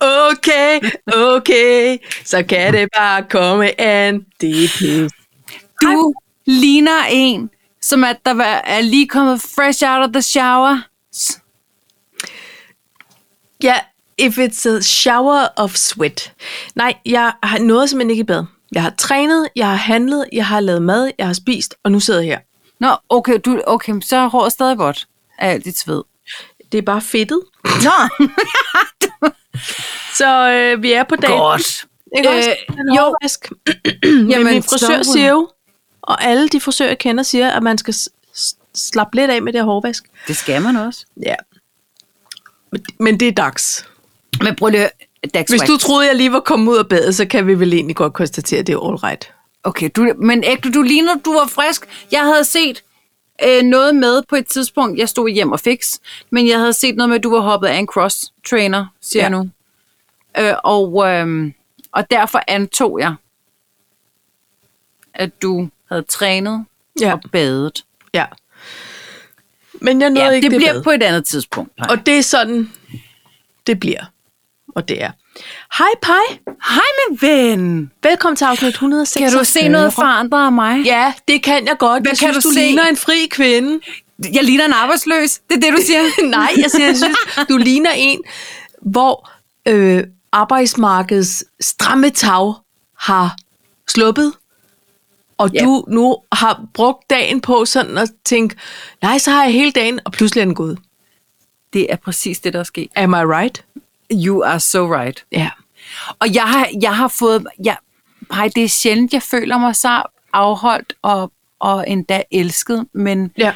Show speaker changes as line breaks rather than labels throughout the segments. okay, okay, så kan det bare komme an. Det er pis.
Du ligner en, som at der var- er lige kommet fresh out of the shower.
Ja, if it's a shower of sweat. Nej, jeg har noget simpelthen ikke i bad. Jeg har trænet, jeg har handlet, jeg har lavet mad, jeg har spist, og nu sidder jeg her.
Nå, okay, du, okay men så er håret stadig godt af alt dit sved.
Det er bare fedtet.
Nå,
Så øh, vi er på dag.
godt.
Ikke også?
Øh,
Den
jo.
hårvask. Men
Jamen,
min frisør
så-
siger jo, og alle de frisører, jeg kender, siger, at man skal s- s- slappe lidt af med det her hårvask.
Det skal man også.
Ja. Men- Men det er dags.
Men prøv lige at høre, Dax
Hvis
Wax.
du troede, jeg lige var kommet ud af badet, så kan vi vel egentlig godt konstatere, at det er all right.
Okay, du, men ægte, du ligner, du var frisk. Jeg havde set øh, noget med på et tidspunkt, jeg stod hjem og fix, men jeg havde set noget med, at du var hoppet af en cross-trainer, siger
Ja.
ja. jeg nu. Øh, og, øh, og derfor antog jeg, at du havde trænet
Ja.
ja. og badet.
Ja. Men jeg nåede
Ja,
ja,
det,
ikke det,
bliver
bad.
på et andet tidspunkt. Og
Og det er sådan, det bliver. Og det er. Hej, Pai.
hej, min ven!
Velkommen til afsnit 106.
Kan du se noget forandret af mig?
Ja, det kan jeg godt.
Hvad
jeg
kan
synes,
du
du
se?
ligner en fri kvinde.
Jeg ligner en arbejdsløs. Det er det, du siger?
Nej, jeg, siger, jeg synes, du ligner en, hvor øh, arbejdsmarkedets stramme tag har sluppet, og
Ja.
ja. du nu har brugt dagen på sådan at tænke, nej, så har jeg hele dagen, og pludselig er den gået.
Det er præcis det, der er sket.
Am I right?
You are so right.
Ja.
Og jeg har, jeg har fået... Jeg, nej, det er sjældent, jeg føler mig så afholdt og, og endda elsket, men,
Ja.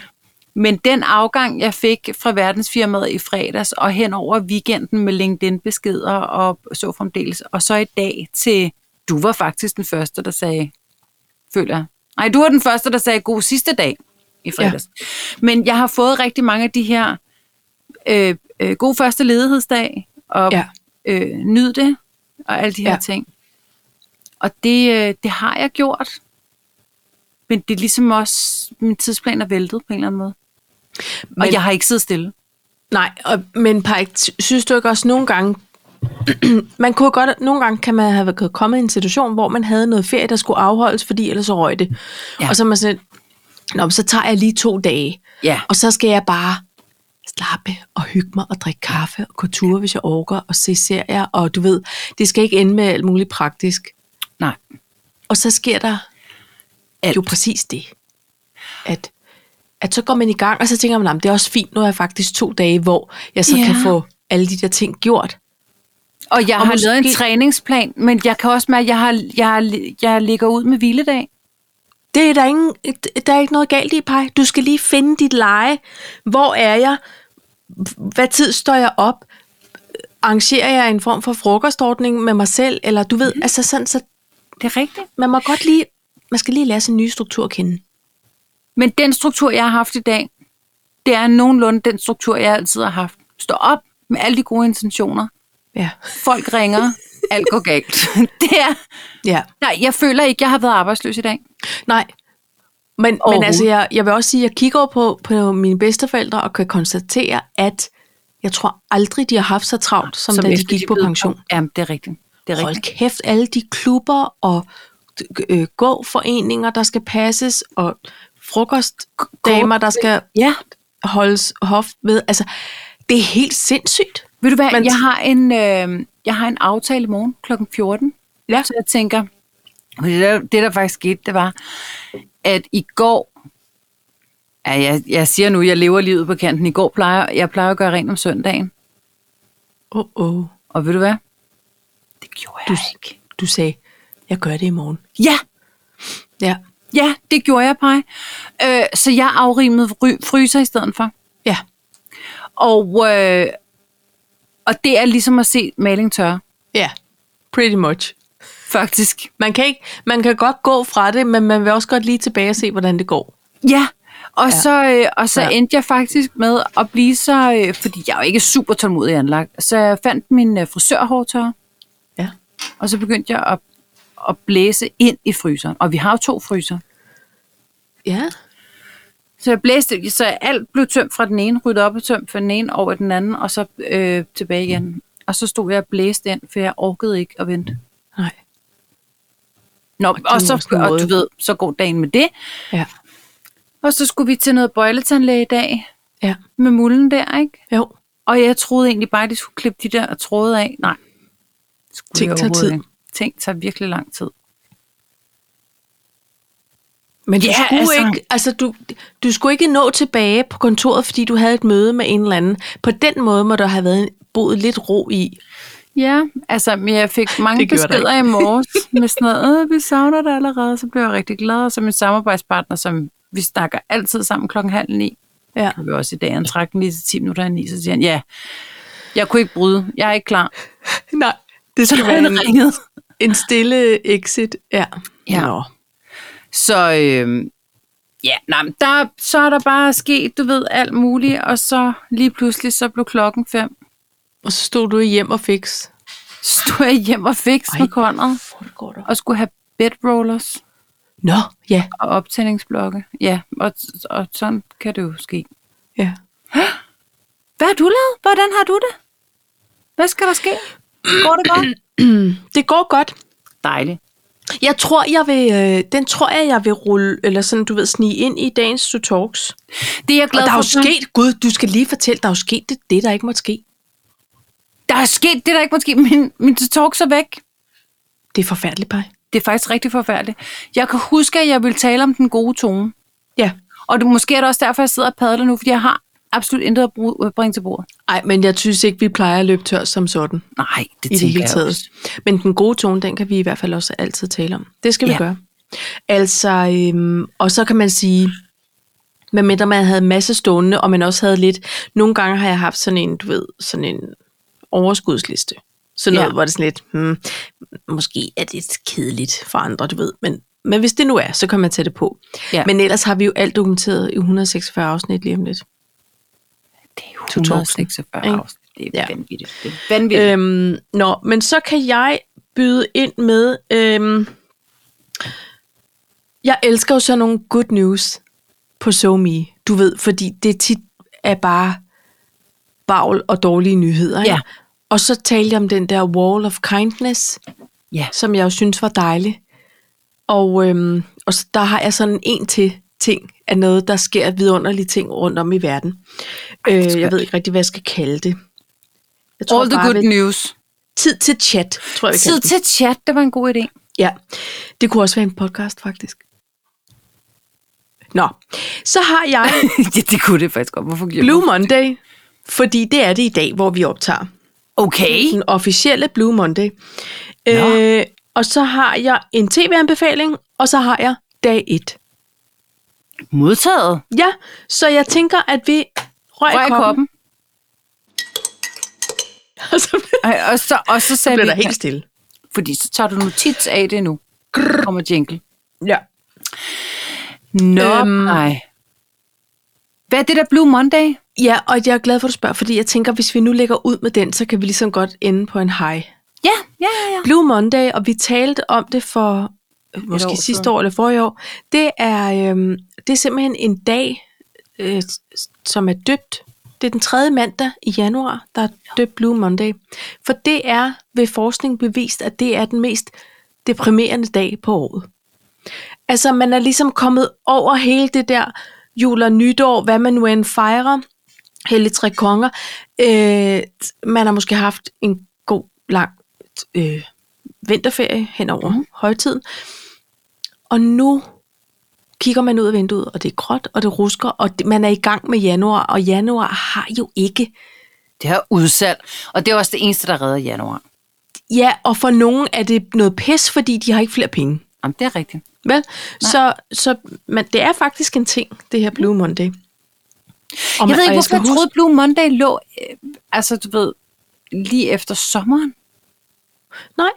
men den afgang, jeg fik fra verdensfirmaet i fredags og hen over weekenden med LinkedIn-beskeder og så fremdeles, og så i dag til... Du var faktisk den første, der sagde, føler jeg. Nej, du var den første, der sagde god sidste dag i fredags. Ja. Men jeg har fået rigtig mange af de her øh, øh, god første ledighedsdag, og
Ja.
ja. øh, nyd det, og alle de her
Ja.
ja. ting. Og det, øh, det har jeg gjort. Men det er ligesom også, min tidsplan er væltet på en eller anden måde. Men, og
Men-
jeg har ikke siddet stille.
Nej, og, men Pike, sy- synes du ikke også nogle gange, man kunne godt, nogle gange kan man have været kommet i en situation, hvor man havde noget ferie, der skulle afholdes, fordi ellers så røg det. Ja.
Ja.
Og så er man sådan, Nå, men så tager jeg lige to dage,
Ja.
og så skal jeg bare slappe og hygge mig og drikke kaffe og gå ture, hvis jeg orker, og se serier, og du ved, det skal ikke ende med alt muligt praktisk.
Nej.
Og så sker der alt.
Alt.
jo præcis det, at, at så går man i gang, og så tænker man, "Nå, men det er også fint, nu er jeg faktisk to dage, hvor jeg så
Ja.
kan få alle de der ting gjort.
Og jeg
Og
og har lavet en
måske-
træningsplan, men jeg kan også mærke, at jeg, har, jeg, jeg ligger ud med hviledag.
Det er der, ingen, der er ikke noget galt i, Paj. Du skal lige finde dit leje. Hvor er jeg? Hvad tid står jeg op? Arrangerer jeg en form for frokostordning med mig selv? Eller du ved, mm. altså sådan, så
Det er rigtigt.
man må godt lige, man skal lige lære sin nye struktur at kende.
Men den struktur, jeg har haft i dag, det er nogenlunde den struktur, jeg altid har haft. Stå op med alle de gode intentioner.
Ja.
Folk ringer. Alt går galt. Det er...
ja.
Nej, jeg føler ikke, jeg har været arbejdsløs i dag.
Nej. Men, men
Overhovedet.
altså, jeg, jeg vil også sige, at jeg kigger over på, på mine bedsteforældre og kan konstatere, at jeg tror aldrig, de har haft så travlt, som, som da de
efter
gik på
blev-
pension.
Jamen, det er rigtigt. Det er
Hold
rigtigt.
kæft, alle de klubber og øh, gåforeninger, der skal passes, og frokostdamer, der skal
Ja.
holdes hof ved. Altså, det er helt sindssygt.
Ved du hvad,
Men-
men... jeg, har en, øh, jeg har en aftale i morgen kl. 14.
Ja.
Så jeg tænker, og det der, det der faktisk skete, det var, at i går, ja, jeg, jeg siger nu, jeg lever livet på kanten. I går plejer jeg plejer at gøre rent om søndagen.
Åh, oh, oh.
Og ved du hvad? Det gjorde jeg
du,
du... ikke.
du sagde, jeg gør det i morgen.
Ja,
Ja,
ja, det gjorde jeg, Paj. Øh, så jeg afrimede fry- fryser i stedet for.
ja,
Og, øh, og det er ligesom at se maling tørre,
ja. Pretty much.
faktisk.
Man kan, ikke, man kan godt gå fra det, men man vil også godt lige tilbage og se, hvordan det går.
Ja, og ja. så, øh, og så
Ja.
ja. endte jeg faktisk med at blive så, øh, fordi jeg er jo ikke super tålmodig anlagt, så jeg fandt min øh, frisørhårtørre,
Ja.
og så begyndte jeg at, at blæse ind i fryseren. Og vi har jo to fryser.
Ja.
Så jeg blæste, så alt blev tømt fra den ene, ryddet op og tømt fra den ene over i den anden, og så øh, tilbage igen. og så stod jeg og blæste ind, for jeg orkede ikke at vente.
Nej.
Nå, og,
det er også
så,
en
og
måde.
du ved, så går dagen med det.
Ja.
Og så skulle vi til noget bøjletandlæge i dag
Ja.
med mulden der, ikke?
Jo.
Og jeg troede egentlig bare, at de skulle klippe de der tråde af. Nej. Skulle
Ting
jeg
tager
overhovedet
tid.
ikke. Ting tager virkelig lang tid.
Men du,
Ja,
skulle
altså-
altså... Ikke, altså du, du skulle ikke nå tilbage på kontoret, fordi du havde et møde med en eller anden. På den måde må der have været en, boet lidt ro i.
Ja, altså men jeg fik mange
Det gjorde der
beskeder i morges med sådan noget, "Øh, vi savner dig allerede, så blev jeg rigtig glad, og så min samarbejdspartner, som vi snakker altid sammen klokken halv ni,
Ja.
og vi også i dag, han trak den lige til 10 minutter i ni, så siger han, ja, jeg kunne ikke bryde, jeg er ikke klar.
Nej, det
Så
skal være
han
en,
ringede.
en stille exit. Ja.
Ja.
Nå.
Så øhm, ja, nej, men der, så er der bare sket, du ved, alt muligt, og så lige pludselig, så blev klokken fem.
Og så stod du i hjem og fix.
Så stod jeg hjem og fik
Ej.
med Conrad, og skulle have bedrollers
Nå, ja.
og optændingsblokke. Ja, og, og sådan kan det jo ske.
ja.
Hvad har du lavet? Hvordan har du det? Hvad skal der ske? Går det godt?
Det går godt.
Dejligt.
Jeg tror, jeg vil, øh, den tror jeg, jeg vil rulle, eller sådan, du ved, snige ind i dagens to talks.
Det er jeg glad
Og der er jo
for. Søren.
sket, Gud, du skal lige fortælle, der er jo sket det, det der ikke måtte ske.
Der er sket det, der ikke måske. Min, min talk så væk.
Det er forfærdeligt, Paj.
Det er faktisk rigtig forfærdeligt. Jeg kan huske, at jeg ville tale om den gode tone.
Ja.
Og du, måske er det også derfor, jeg sidder og padler nu, fordi jeg har absolut intet at bruge, bringe til bordet.
Nej, men jeg synes ikke, vi plejer at løbe tør som sådan.
Nej,
i det hele
jeg
taget.
også.
Men den gode tone, den kan vi i hvert fald også altid tale om. Det skal vi
Ja.
ja. gøre. Altså, øhm, og så kan man sige, medmindre man havde en masse stående, og man også havde lidt, nogle gange har jeg haft sådan en, du ved, sådan en overskudsliste. Sådan noget,
Ja.
ja. hvor det er sådan lidt, hmm, måske er det kedeligt for andre, du ved, men, men hvis det nu er, så kan man tage det på.
Ja.
Ja. Men ellers har vi jo alt dokumenteret i 146 afsnit lige om lidt.
Det er jo
To tusind,
146
ikke?
afsnit. Det er
Ja.
vanvittigt. Det er vanvittigt. Øh,
Øhm, nå, men så kan jeg byde ind med, øhm, jeg elsker jo sådan nogle good news på SoMe, du ved, fordi det tit er bare bagl og dårlige nyheder. ikke?
Ja.
Og så talte jeg om den der wall of kindness,
ja.
som jeg jo synes var dejlig. Og, øhm, og så der har jeg sådan en til ting af noget, der sker vidunderlige ting rundt om i verden.
er
Øh, jeg
skønt.
ved ikke rigtig, hvad jeg skal kalde det. Jeg
All the
bare,
good
vi-
news.
Tid til chat, tror jeg, vi
Tid
kan.
til chat, det var en god idé.
Ja, det kunne også være en podcast, faktisk. Nå, så har jeg
ja, det kunne det faktisk godt. Hvorfor gjorde
Blue Monday, fordi det er det i dag, hvor vi optager.
Okay.
Den officielle Blue Monday.
Nå.
Øh, og så har jeg en tv-anbefaling, og så har jeg dag 1.
Modtaget.
Ja, så jeg tænker, at vi rører
Røg
i
i
koppen.
koppen.
Og så
Og, og, så, og så sagde
bliver
vi,
der helt stille.
fordi så tager du notits af det nu. Grrr. Kommer jingle.
Ja.
Nå,
Øhm.
nej. Hvad er det der Blue Monday?
ja, og jeg er glad for, at du spørger, fordi jeg tænker, hvis vi nu lægger ud med den, så kan vi ligesom godt ende på en high.
Ja, ja, ja. ja.
Blue Monday, og vi talte om det for øh,
år
måske sidste
siden.
år eller forrige år. Det er, øhm, det er simpelthen en dag, øh, s- som er døbt. Det er den tredje mandag i januar, der er døbt Blue Monday. For det er ved forskning bevist, at det er den mest deprimerende dag på året. Altså, man er ligesom kommet over hele det der jul og nytår, hvad man nu end fejrer, hellige tre konger. Øh, man har måske haft en god, lang øh, vinterferie hen over mm. højtiden. Og nu kigger man ud af vinduet, og det er gråt, og det rusker, og det, man er i gang med januar, og januar har jo ikke...
Det er udsalg, og det er også det eneste, der redder januar.
Ja, og for nogen er det noget pis, fordi de har ikke flere penge.
Jamen, det er rigtigt.
Vel? Så, så man, det er faktisk en ting, det her Blue Monday. Og man-
Jeg ved
og
ikke, hvorfor
skal
jeg
huske-
troede, Blue Monday lå, øh, altså du ved, lige efter sommeren.
Nej,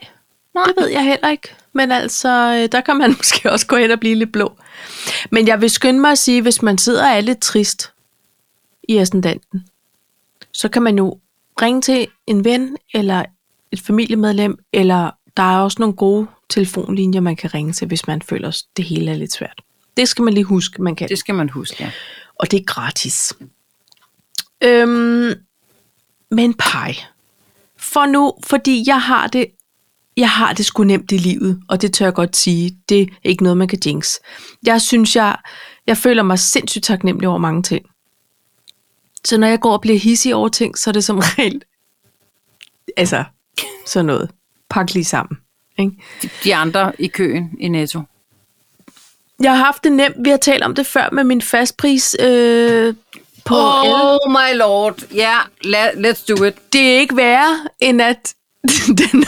Nej, det ved jeg heller ikke. Men altså, øh, der kan man måske også gå hen og blive lidt blå. Men jeg vil skynde mig at sige, hvis man sidder og er lidt trist i ascendanten, så kan man jo ringe til en ven eller et familiemedlem, eller der er også nogle gode telefonlinjer, man kan ringe til, hvis man føler, at det hele er lidt svært. Det skal man lige huske, man kan.
Det skal man huske, ja.
Og det er gratis. Øhm, men pej. for nu, fordi jeg har det jeg har det sgu nemt i livet, og det tør jeg godt sige. Det er ikke noget, man kan jinx. Jeg synes, jeg, jeg føler mig sindssygt taknemmelig over mange ting. Så når jeg går og bliver hissig over ting, så er det som regel, altså, sådan noget. Pak lige sammen. Ikke?
De andre i køen i Netto.
Jeg har haft det nemt, vi har talt om det før med min fastpris øh, på oh. el.
Oh my lord. Ja, yeah, let's do it.
Det er ikke værre, end at den,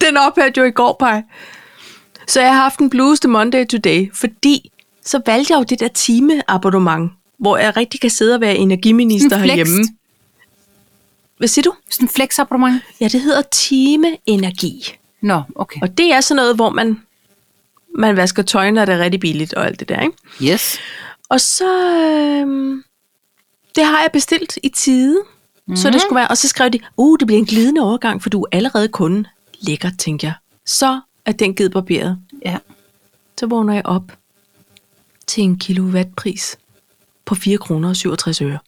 den ophørte jo i går, Paj. Så jeg har haft en blues til Monday Today, fordi så valgte jeg jo det der timeabonnement, hvor jeg rigtig kan sidde og være energiminister
En flex.
herhjemme. Hvad siger du?
Sådan en flexabonnement.
Ja, det hedder timeenergi.
Nå, okay.
Og det er sådan noget, hvor man, man vasker tøj, når det er rigtig billigt og alt det der, ikke?
Yes.
Og så, øhm, det har jeg bestilt i tide. Mm-hmm. Så det skulle være, og så skrev de, uh, det bliver en glidende overgang, for du er allerede kunde. Lækkert, tænker jeg. Så er den givet barberet.
Ja.
Så vågner jeg op til en kilowattpris på 4 kroner og 67 øre.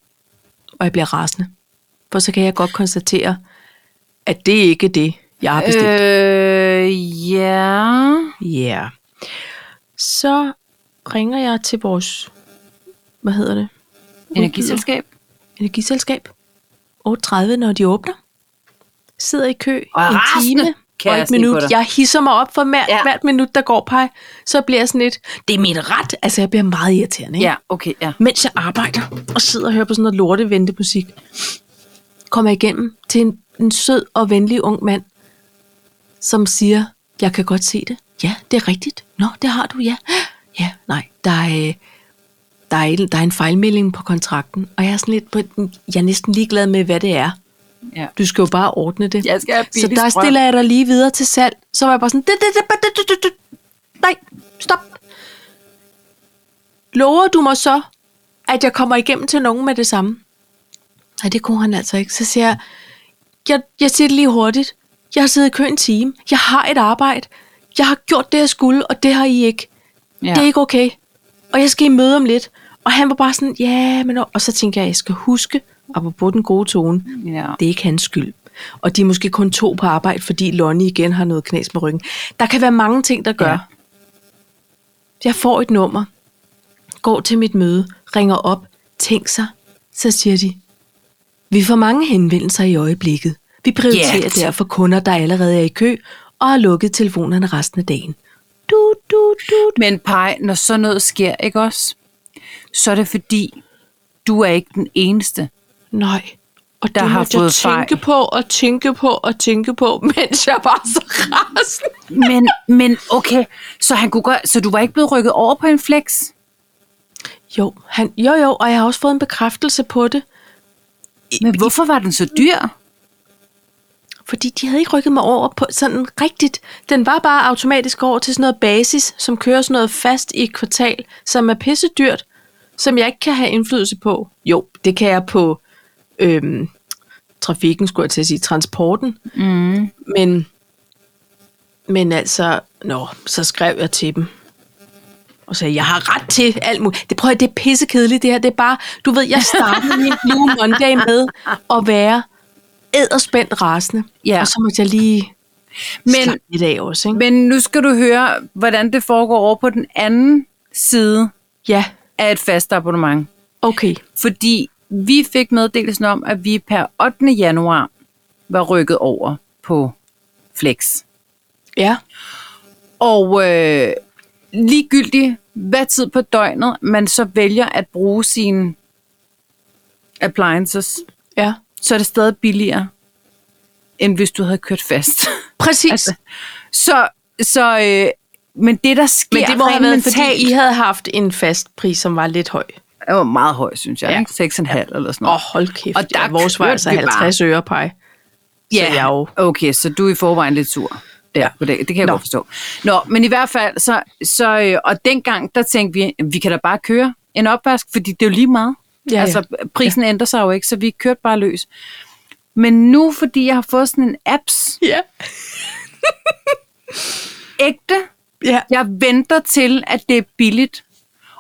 Og jeg bliver rasende. For så kan jeg godt konstatere, at det ikke er det, jeg har bestilt.
Øh, ja.
Ja. Yeah. Så ringer jeg til vores, hvad hedder det?
Energiselskab.
Energiselskab. 8.30, når de åbner. Sidder i kø
Og er
en
rasende,
time
kan
og
jeg
et
se på
minut.
dig.
Jeg hisser mig op for hver, ja.
Ja.
hvert minut, der går, pej. Så bliver jeg sådan lidt, det er min ret. Altså, jeg bliver meget irriterende, ikke?
Ja, okay, ja.
Mens jeg arbejder og sidder og hører på sådan noget lorte ventemusik, kommer jeg igennem til en, en sød og venlig ung mand, som siger, jeg kan godt se det. Ja, det er rigtigt. Nå, det har du, ja. Ja, nej, der er, øh, der er, en, der er en fejlmelding på kontrakten, og jeg er sådan lidt på, jeg er næsten ligeglad med, hvad det er.
ja.
Du skal jo bare ordne det.
Jeg skal have
så
billig
der
strøm.
stiller jeg dig lige videre til salg. Så var jeg bare sådan, det, det, det, det, det, det, det. nej, stop. Lover du mig så, at jeg kommer igennem til nogen med det samme? Nej, det kunne han altså ikke. Så siger jeg, jeg, jeg siger det lige hurtigt. Jeg har siddet i kø en time. Jeg har et arbejde. Jeg har gjort det, jeg skulle, og det har I ikke.
Ja.
Ja. Det er ikke okay. Og jeg skal i møde om lidt. Og han var bare sådan, ja, yeah, men... Og så tænker jeg, jeg skal huske, apropos den gode tone,
Ja.
det er ikke hans skyld. Og de er måske kun to på arbejde, fordi Lonnie igen har noget knas med ryggen. Der kan være mange ting, der gør.
Ja.
Ja. Jeg får et nummer, går til mit møde, ringer op, tænk sig, så siger de, vi får mange henvendelser i øjeblikket. Vi prioriterer
Hjælp.
yeah. derfor kunder, der allerede er i kø, og har lukket telefonerne resten af dagen. Du, du, du,
Men pej, når sådan noget sker, ikke også? Så er det fordi, du er ikke den eneste.
Nej. Og
Der
det
har
måtte jeg
fået
tænke
fejl.
på og tænke på og tænke på, mens jeg var så rasende.
Men, men okay, så, han kunne godt, så du var ikke blevet rykket over på en flex?
Jo, han, jo, jo, og jeg har også fået en bekræftelse på det,
Men hvorfor var den så dyr?
fordi de havde ikke rykket mig over på sådan rigtigt. Den var bare automatisk over til sådan noget basis, som kører sådan noget fast i et kvartal, som er pissedyrt, som jeg ikke kan have indflydelse på. Jo, det kan jeg på øhm, trafikken, skulle jeg til at sige, transporten.
Mm.
Men, men altså, nå, så skrev jeg til dem. Og sagde, jeg har ret til alt muligt. Det prøver jeg, det er pissekedeligt det her. Det er bare, du ved, jeg startede min Blue Monday med at være æderspændt rasende.
Ja.
Og så måtte jeg lige
Men-
men, slappe lidt af også, ikke? Men,
Men nu skal du høre, hvordan det foregår over på den anden side
ja,
af et fast abonnement.
okay.
Fordi vi fik meddelelsen om, at vi per 8. januar var rykket over på flex.
Ja,
Og øh, ligegyldigt, hvad tid på døgnet man så vælger at bruge sine appliances,
ja.
så er det stadig billigere, end hvis du havde kørt fast.
Præcis.
Altså, så, så øh, men det, der sker
men det må have været, fordi I
I...
havde haft en fast pris, som var lidt høj.
er jo meget høj, synes jeg.
Ja.
Ja. 6,5 eller sådan
Åh, oh,
noget.
hold kæft.
Og der
ja, vores var
kørte
altså
vi bare.
50 øre, pej.
Ja,
Så jeg jo...
okay, så du er i forvejen lidt sur. Der, på det, det kan
Nå.
jeg Nå. godt forstå. Nå, men i hvert fald, så, så, øh, og dengang, der tænkte vi, vi kan da bare køre en opvask, fordi det er jo lige meget.
Ja,
Ja,
ja.
altså, prisen ja. ændrer sig jo ikke, så vi kørte bare løs. Men nu, fordi jeg har fået sådan en apps,
Ja.
ægte,
Ja.
jeg venter til, at det er billigt.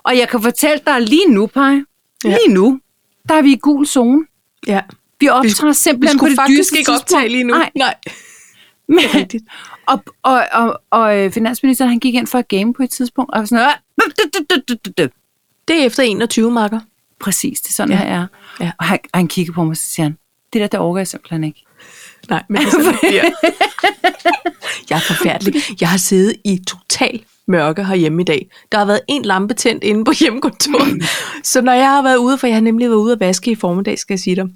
Og jeg kan fortælle dig lige nu, Paj,
Ja.
lige nu, der er vi i gul zone.
Ja.
Vi optræder vi, simpelthen
Vi
på
skulle
det
faktisk
dyreste
ikke optage
tidspunkt.
lige nu.
Nej,
Nej.
men,
rigtigt.
og, og, og, og øh, finansministeren han gik ind for at game på et tidspunkt, og var sådan, "Ah, dup, dup, dup, dup, dup, dup."
Det er efter 21 marker.
præcis, det er sådan,
Ja.
ja. her er.
Ja.
Og han, han kigger på mig, og så siger han, det der, det overgår jeg simpelthen ikke.
Nej, men det er sådan, det bliver. Jeg er forfærdelig. Jeg har siddet i total mørke herhjemme i dag. Der har været en lampe tændt inde på hjemmekontoret. Så når jeg har været ude, for jeg har nemlig været ude at vaske i formiddag, skal jeg sige dig.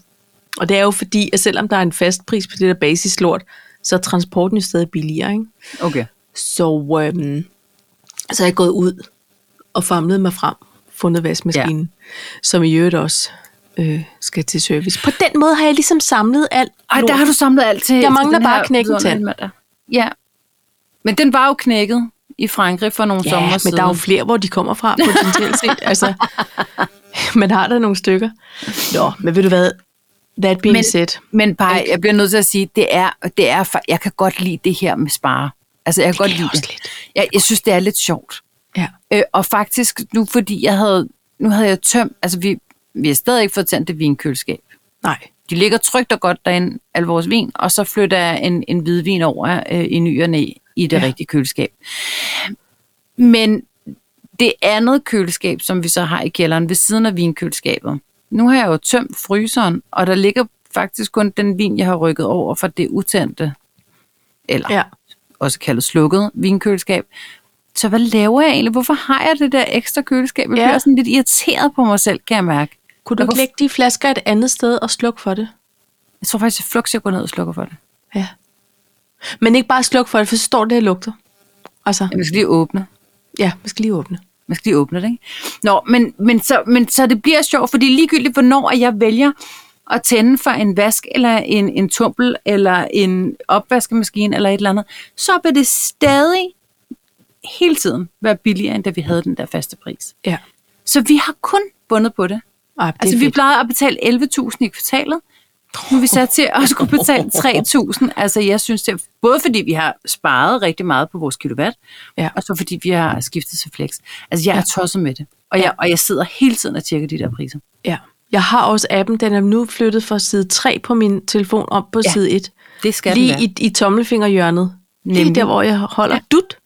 Og det er jo fordi, at selvom der er en fast pris på det der basislort, så er transporten jo stadig billigere, ikke?
Okay.
Så, øhm, så er jeg gået ud og famlet mig frem, fundet vaskemaskinen, ja. som i øvrigt også øh, skal til service. På den måde har jeg ligesom samlet alt.
Ej,
lort.
der har du samlet alt til. til
mangler
den
bare
her
knækken
vidunderlige
tand.
mandag. Ja. Men den var jo knækket i Frankrig for nogle sommer
Ja, men
siden.
der er jo flere, hvor de kommer fra, potentielt set. Altså, man har da nogle stykker. Nå, men ved du hvad? That being men,
Men-
said.
Men bare, jeg bliver nødt til at sige, det er, det er, for- jeg kan godt lide det her med spare. Altså, jeg kan godt
kan jeg
lide
også
det.
lidt.
Jeg, jeg synes, det er lidt sjovt.
Ja.
Øh, og faktisk nu, fordi jeg havde, nu havde jeg tømt, altså vi, vi har stadig ikke fået tændt det vinkøleskab.
Nej.
De ligger trygt og godt derinde, al vores vin, og så flytter jeg en, en hvidvin over øh, i nyerne i det
Ja.
ja. rigtige køleskab. Men det andet køleskab, som vi så har i kælderen ved siden af vinkøleskabet, nu har jeg jo tømt fryseren, og der ligger faktisk kun den vin, jeg har rykket over fra det utændte, eller
Ja.
også kaldet slukket vinkøleskab. Så hvad laver jeg egentlig? Hvorfor har jeg det der ekstra køleskab? Jeg
Ja.
ja. bliver sådan lidt irriteret på mig selv, kan jeg mærke.
Kunne du
Jeg
ikke
kunne-
lægge de flasker et andet sted og slukke for det?
Jeg tror faktisk, at flux, jeg går ned og slukker for det.
Ja. Men ikke bare slukke for det, for så står det og lugter. Altså,
Jeg skal lige åbne.
ja, vi skal lige åbne.
Man skal lige åbne det, ikke? Nå, men, men, så, men så det bliver sjovt, fordi ligegyldigt, hvornår at jeg vælger at tænde for en vask, eller en, en tumpel, eller en opvaskemaskine, eller et eller andet, så vil det stadig hele tiden være billigere, end da vi havde den der faste pris.
Ja.
Så vi har kun bundet på det.
Ej, det
Altså,
er
vi
fedt.
plejede at betale 11.000 i kvartalet. Nu er vi sat til at skulle betale 3.000. Altså, jeg synes det er, både fordi vi har sparet rigtig meget på vores kilowatt,
Ja.
og så fordi vi har skiftet til flex. Altså, jeg er tosset med det. Og jeg, og jeg sidder hele tiden og tjekker de der priser.
ja. Jeg har også appen, den er nu flyttet fra side 3 på min telefon op på ja.
Ja.
side 1.
Det skal den
Lige
være.
i, i tommelfingerhjørnet. Nemlig. Lige
Nemlig.
der, hvor jeg holder ja. dut.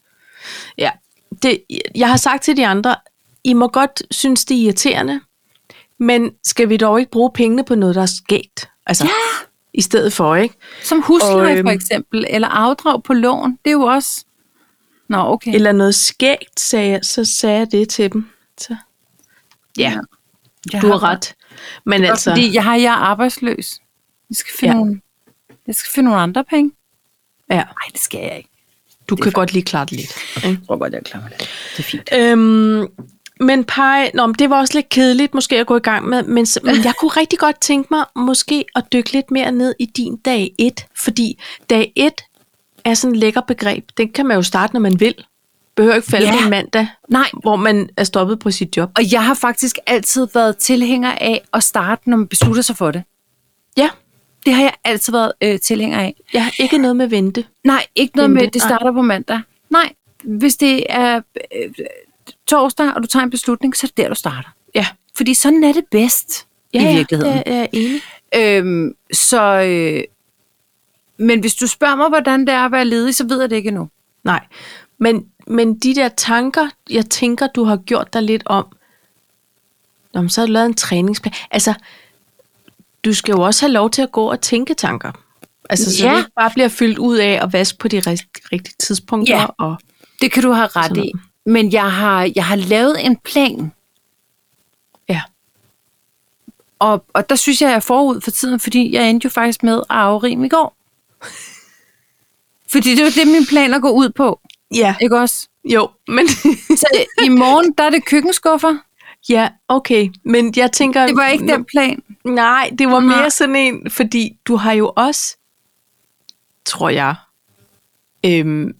Ja. Det, jeg har sagt til de andre, I må godt synes, det er irriterende, men skal vi dog ikke bruge pengene på noget, der er skægt? Altså, ja. i stedet for, ikke?
Som husleje
Og, øhm,
for eksempel, eller afdrag på lån, det er jo også... Nå, okay.
Eller noget skægt, sagde jeg, så sagde jeg det til dem. Så. Ja,
Jeg
du har ret. Men
Altså.
altså,
Fordi jeg, har, jeg er arbejdsløs. Jeg skal, finde
Ja.
ja. nogle, jeg skal finde nogle andre penge.
ja,
Nej, det skal jeg ikke.
du kan godt lige klare det lidt. Ikke?
Jeg tror godt, jeg klarer mig lidt. Det er fint.
Øhm, men pej, nå, men det var også lidt kedeligt måske at gå i gang med, men, s- men jeg kunne rigtig godt tænke mig måske at dykke lidt mere ned i din dag 1, fordi dag 1 er sådan et lækker begreb. Den kan man jo starte, når man vil. Behøver ikke falde
Ja.
ja. på en mandag,
Nej,
hvor man er stoppet på sit job.
og jeg har faktisk altid været tilhænger af at starte, når man beslutter sig for det.
Ja,
Det har jeg altid været øh, tilhænger af.
jeg har ikke noget med vente.
Nej, ikke noget
Vente,
med, at det
nej.
starter på mandag. Nej, hvis det er øh, torsdag, og du tager en beslutning, så er det der, du starter.
Ja,
Fordi sådan er det bedst
ja
i virkeligheden.
Ja, det er jeg enig.
Øhm, så, øh, men hvis du spørger mig, hvordan det er at være ledig, så ved jeg det ikke endnu.
Nej, men, men de der tanker, jeg tænker, du har gjort dig lidt om, Nå, men så har du lavet en træningsplan. Altså, du skal jo også have lov til at gå og tænke tanker. Altså, så ja.
Ja.
det ikke bare bliver fyldt ud af at vaske på de ri- rigtige tidspunkter.
Ja.
Og,
Det kan du have ret
Sådan
i. Men jeg har, jeg har lavet en plan,
ja.
og, og der synes jeg, jeg er forud for tiden, fordi jeg endte jo faktisk med at afrime i går. Fordi det var det, min plan at gå ud på,
ja,
ikke også?
jo, men...
Så i morgen, der er det køkkenskuffer.
ja, okay, men jeg tænker...
Det var ikke den plan.
Nej, det var
Nej.
mere sådan en, fordi du har jo også, tror jeg, øhm,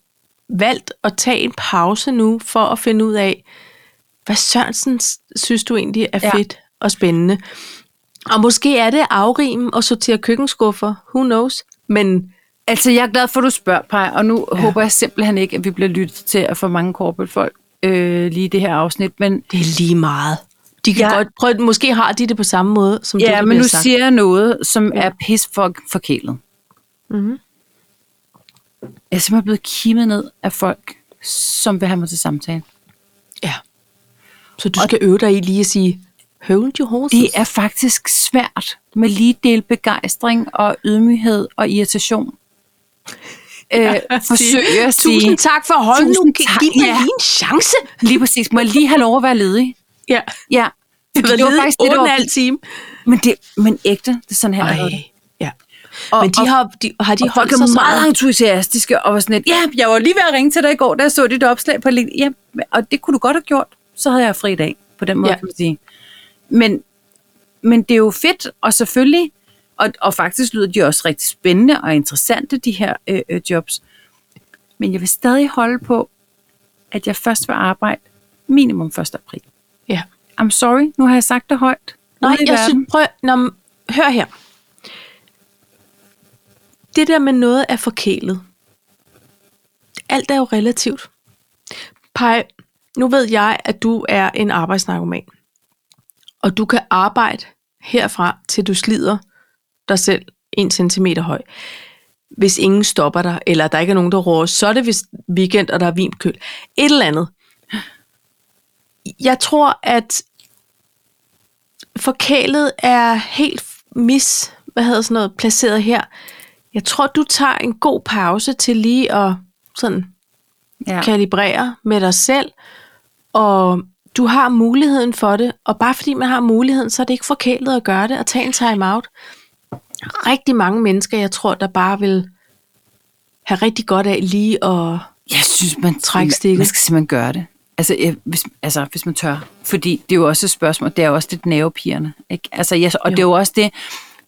valgt at tage en pause nu for at finde ud af, hvad Sørensen s- synes du egentlig er
Ja.
fedt og spændende. Og måske er det afrime og sortere køkkenskuffer, who knows, men
Altså, jeg er glad for, at du spørger, Paj, og nu ja. håber jeg simpelthen ikke, at vi bliver lyttet til at for mange corporate folk øh, lige i det her afsnit, men
det er lige meget. De kan
Ja.
ja. godt prøve, måske har de det på samme måde, som det,
Ja,
der
men
bliver
nu
sagt.
siger jeg noget, som
Ja.
er pis for forkælet.
Mhm.
Jeg er simpelthen blevet kimet ned af folk, som vil have mig til samtale.
Ja. Så du skal øve dig i lige at sige, hold your horses.
Det er faktisk svært med lige del begejstring og ydmyghed og irritation. Øh, forsøg at sige,
Tusind tak for holden.
Tusind
Nu gi-
tak,
giv mig
ja.
lige en chance.
lige præcis, må jeg lige have lov at være ledig?
Ja.
Ja,
Det var,
det var faktisk det, der var,
time.
men, det, men ægte, det er sådan her, der havde det.
Ej, ja.
Og-
Men de
og-
har, de, har de
de
holdt
folk
sig
er
så
meget
meget?
entusiastiske og var sådan lidt, ja, jeg var lige ved at ringe til dig i går, da jeg så dit opslag på LinkedIn. Ja, og det kunne du godt have gjort, så havde jeg fri i dag, på den måde ja.
Ja.
kan man sige. Men, men det er jo fedt, og selvfølgelig, og, og faktisk lyder de også rigtig spændende og interessante, de her øh, øh, jobs. Men jeg vil stadig holde på, at jeg først vil arbejde minimum 1. april.
Ja.
I'm sorry, nu har jeg sagt det højt.
Nej,
Ude i
jeg
verden.
synes, prøv, nå, men hør her. Det der med noget er forkælet. Alt er jo relativt. Pej, nu ved jeg, at du er en arbejdsnarkoman. Og du kan arbejde herfra, til du slider dig selv en centimeter høj. Hvis ingen stopper dig, eller der ikke er nogen, der råber, så er det hvis weekend, og der er vin på køl. Et eller andet. Jeg tror, at forkælet er helt mis, hvad hedder sådan noget, placeret her. Jeg tror, du tager en god pause til lige at sådan
ja.
kalibrere med dig selv, og du har muligheden for det, og bare fordi man har muligheden, så er det ikke forkælet at gøre det, og tage en time out. Rigtig mange mennesker, jeg tror, der bare vil have rigtig godt af lige at...
Jeg synes, man
Træk
trækker
stikket.
Man skal simpelthen gøre det. Altså, jeg, hvis, altså, hvis man tør. Fordi det er jo også et spørgsmål, det er jo også lidt nervepirrende. Ikke? Altså, jeg, og jo. det er jo også det,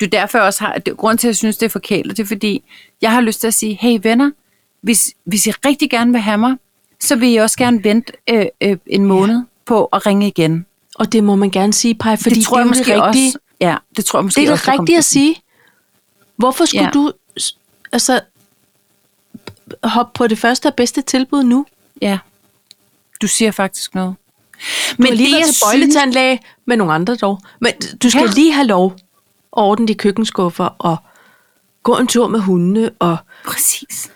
det er derfor jeg også har, det, grunden til, at jeg synes, det er forkælet, det er fordi, jeg har lyst til at sige, hey venner, hvis, hvis I rigtig gerne vil have mig, så vil I også gerne vente øh, øh, en måned ja. på at ringe igen.
Og det må man gerne sige, Paj, fordi det,
tror
det er
jeg
jo
måske
det rigtige.
også. Ja, det tror jeg måske
Det er
også,
det
der kommer
rigtige at
til
sige. Hvorfor skulle
Ja.
ja. du s- altså hoppe på det første og bedste tilbud nu? Du
at- Ja, du siger faktisk noget.
Men har lige
det,
været
jeg
til bøjletandlæge med nogle andre dog. Men du skal
Ja.
ja. lige have lov at ordne de køkkenskuffer og gå en tur med hundene og
Præcis.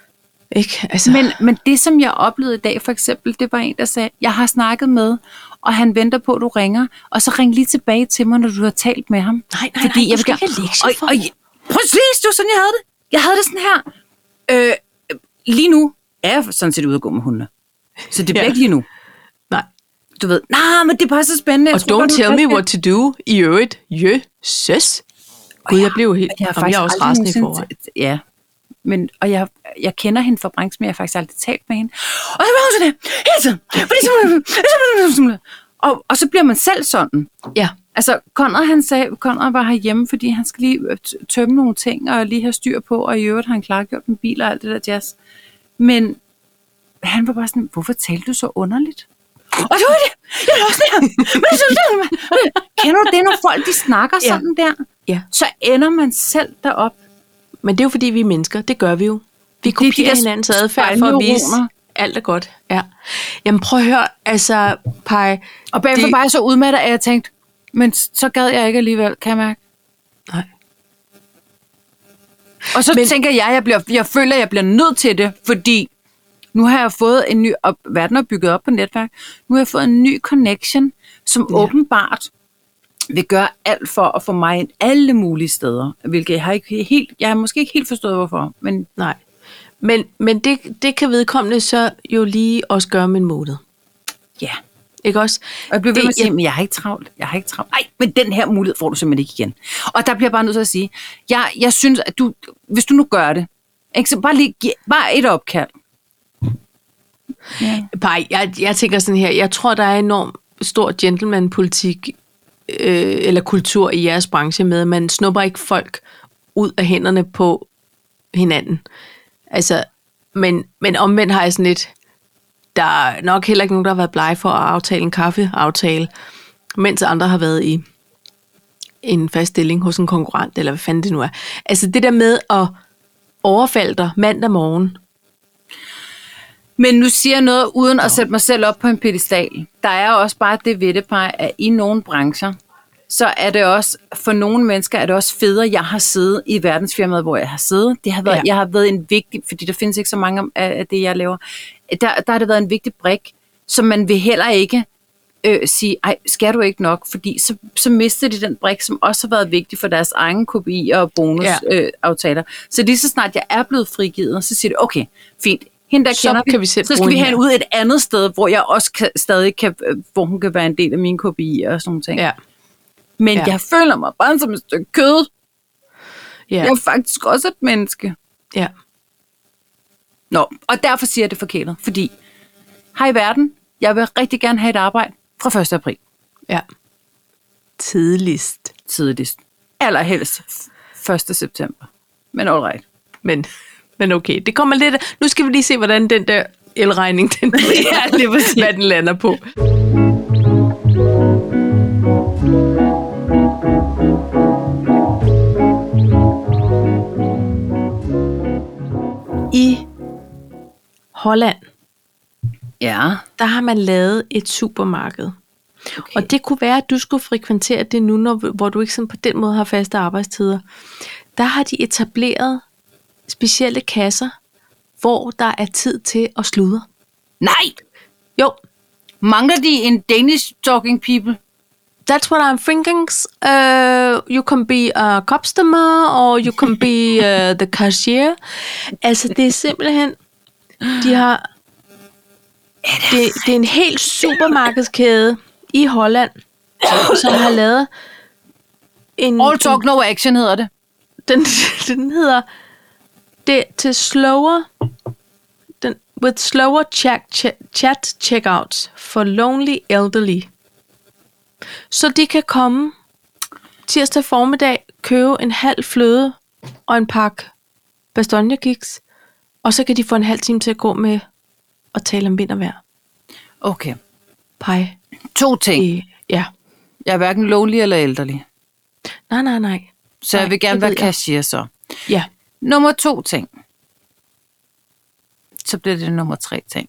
ikke, altså, Men,
Men, men det, som jeg oplevede i dag, for eksempel, det var en, der sagde, jeg har snakket med, og han venter på, at du ringer, og så ring lige tilbage til mig, når du har talt med ham.
Nej, nej, nej, du skal
gerne-
ikke have lektier for
og, og,
det.
Præcis, det var sådan, jeg havde det. Jeg havde det sådan her. Øh, lige nu er jeg sådan set ude at gå med hundene. Så det bliver
Ja.
ikke lige nu.
nej.
Du ved, nej, nah, men det er bare så spændende.
Og don't tell me what to do i øvrigt. Jesus. Gud, jeg blev helt...
Jeg har
Om jeg
faktisk
er også
aldrig
rasende i
nogensinde-
forvejen.
Ja, men, og jeg, jeg kender hende fra branchen, men jeg har faktisk aldrig talt med hende. Og så bliver hun sådan her, hele tiden. Fordi så- Og, og så bliver man selv sådan.
Ja,
Altså, Conrad, han sagde, Conrad var herhjemme, fordi han skal lige øh, t- tømme nogle ting, og lige have styr på, og i øvrigt har han klargjort en bil og alt det der jazz. Men han var bare sådan, hvorfor talte du så underligt? Og det var det. Jeg var også sådan her. Men så, kender du det, når folk de snakker
Ja.
sådan der?
ja.
Så ender man selv derop
Men det er jo fordi, vi er mennesker. Det gør vi jo. Vi
er de
kopierer
der
hinandens adfærd for at vise,
spejlneuroner.
alt er godt. Ja. Jamen prøv at høre, altså, Paj.
Og bagefter
Det-
var jeg så udmattet, at jeg tænkte, men så gad jeg ikke alligevel, kan jeg mærke.
Nej.
Og så men,
Men-
tænker jeg, jeg, bliver, jeg føler, at jeg bliver nødt til det, fordi nu har jeg fået en ny, og verden er bygget op på netværk, nu har jeg fået en ny connection, som ja.
Ja.
åbenbart vil gøre alt for at få mig ind alle mulige steder, hvilket jeg har, ikke helt, jeg har måske ikke helt forstået, hvorfor, men
Nej. Men, men det, det kan vedkommende så jo lige også gøre om en måned.
ja.
Ikke også?
Og jeg bliver ved
Det-
med at sige,
jeg-
men jeg har ikke travlt, jeg har ikke travlt. Nej, men den her mulighed får du simpelthen ikke igen. Og der bliver jeg bare nødt til at sige, jeg, jeg synes, at du, hvis du nu gør det, ikke, så bare, lige, gi- bare et opkald. Ja.
Paj, jeg, jeg tænker sådan her, jeg tror, der er enormt stor gentleman-politik øh, eller kultur i jeres branche med, at man snupper ikke folk ud af hænderne på hinanden. Altså, men, men omvendt har jeg sådan lidt, der er nok heller ikke nogen, der har været blege for at aftale en kaffeaftale, mens andre har været i en fast stilling hos en konkurrent, eller hvad fanden det nu er. Altså det der med at overfalde dig mandag morgen,
Men nu siger jeg noget uden at sætte mig selv op på en pedestal. Der er også bare det ved det, Paj, at i nogle brancher, så er det også, for nogle mennesker er det også federe, jeg har siddet i verdensfirmaet, hvor jeg har siddet. Det har været,
Ja.
ja. Jeg har været en vigtig, fordi der findes ikke så mange om- af af det, jeg laver. Der, der har det været en vigtig brik, som man vil heller ikke øh, sige, ej, skal du ikke nok? Fordi så, så mister de den brik, som også har været vigtig for deres egen KPI'er og bonusaftaler. Øh, aftaler. så lige så snart jeg er blevet frigivet, så siger det, okay, fint, hende der
Så
kender
kan vi selv
så skal
bruge
vi have
hende
hende ud et andet sted, hvor jeg også kan, stadig kan, øh, hvor hun kan være en del af mine KPI'er og sådan nogle ting.
Ja.
Men
Ja.
ja. jeg føler mig bare som et stykke kød. Ja. Jeg
Ja.
er faktisk også et menneske.
ja.
Nå, og derfor siger jeg det forkælet, fordi hej verden, jeg vil rigtig gerne have et arbejde fra 1. april
ja. Tidligst.
tidligst. Allerhelst 1. september. Men all right.
Men, men okay, det kommer lidt... Nu skal vi lige se, hvordan den der elregning, den
Ja, lige præcis.
hvad den lander på. I Holland,
Ja.
der har man lavet et supermarked.
Okay.
Og det kunne være, at du skulle frekventere det nu, når, hvor du ikke sådan på den måde har faste arbejdstider. Der har de etableret specielle kasser, hvor der er tid til at sludre.
Nej!
Jo,
Mangler de en Danish talking people?
that's what I'm thinking. Uh, you can be a customer, or you can be uh, the cashier. Altså, det er simpelthen... De har... Det, det er en helt supermarkedskæde i Holland, som har lavet en...
All talk, no action hedder det.
den, den hedder det til slower den, with slower chat, chat, chat checkouts for lonely elderly. Så de kan komme tirsdag formiddag, købe en halv fløde og en pakke bastonjekiks, og så kan de få en halv time til at gå med og tale om vind og vejr.
Okay.
Pej.
To ting.
Øh, ja.
Jeg er hverken lonely eller ældrelig.
Nej, nej, nej.
Så jeg
Nej,
vil gerne
det
være
ved jeg.
cashier så.
Ja.
Nummer to ting. Så bliver det nummer tre ting.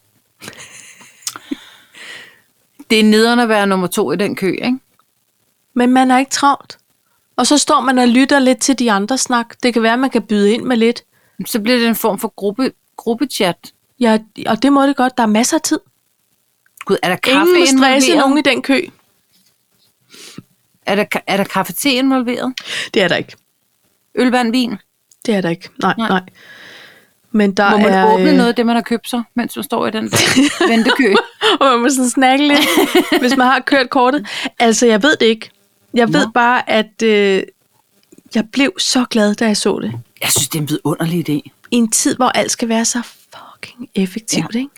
Det er nederen at være nummer to i den kø, ikke?
Men man er ikke travlt. Og så står man og lytter lidt til de andre snak. Det kan være, man kan byde ind med lidt.
Så bliver det en form for gruppe, gruppechat.
Ja, og det må det godt. Der er masser af tid.
Gud, er der kaffe
Ingen må stresse
involveret?
nogen i den kø.
Er der, ka- er der kaffe te involveret?
Det er der ikke.
Øl, vand, vin?
Det er der ikke. Nej, nej.
Nej.
nej. Men der
Må man
er...
åbne
øh,
noget af det, man har købt sig, mens man står i den der ventekø?
Og man må sådan snakke lidt, hvis man har kørt kortet. Altså, jeg ved det ikke. Jeg ved
Nå.
bare, at øh, jeg blev så glad, da jeg så det.
Jeg synes, det er en vidunderlig idé.
I en tid, hvor alt skal være så fucking effektivt, ja. ikke?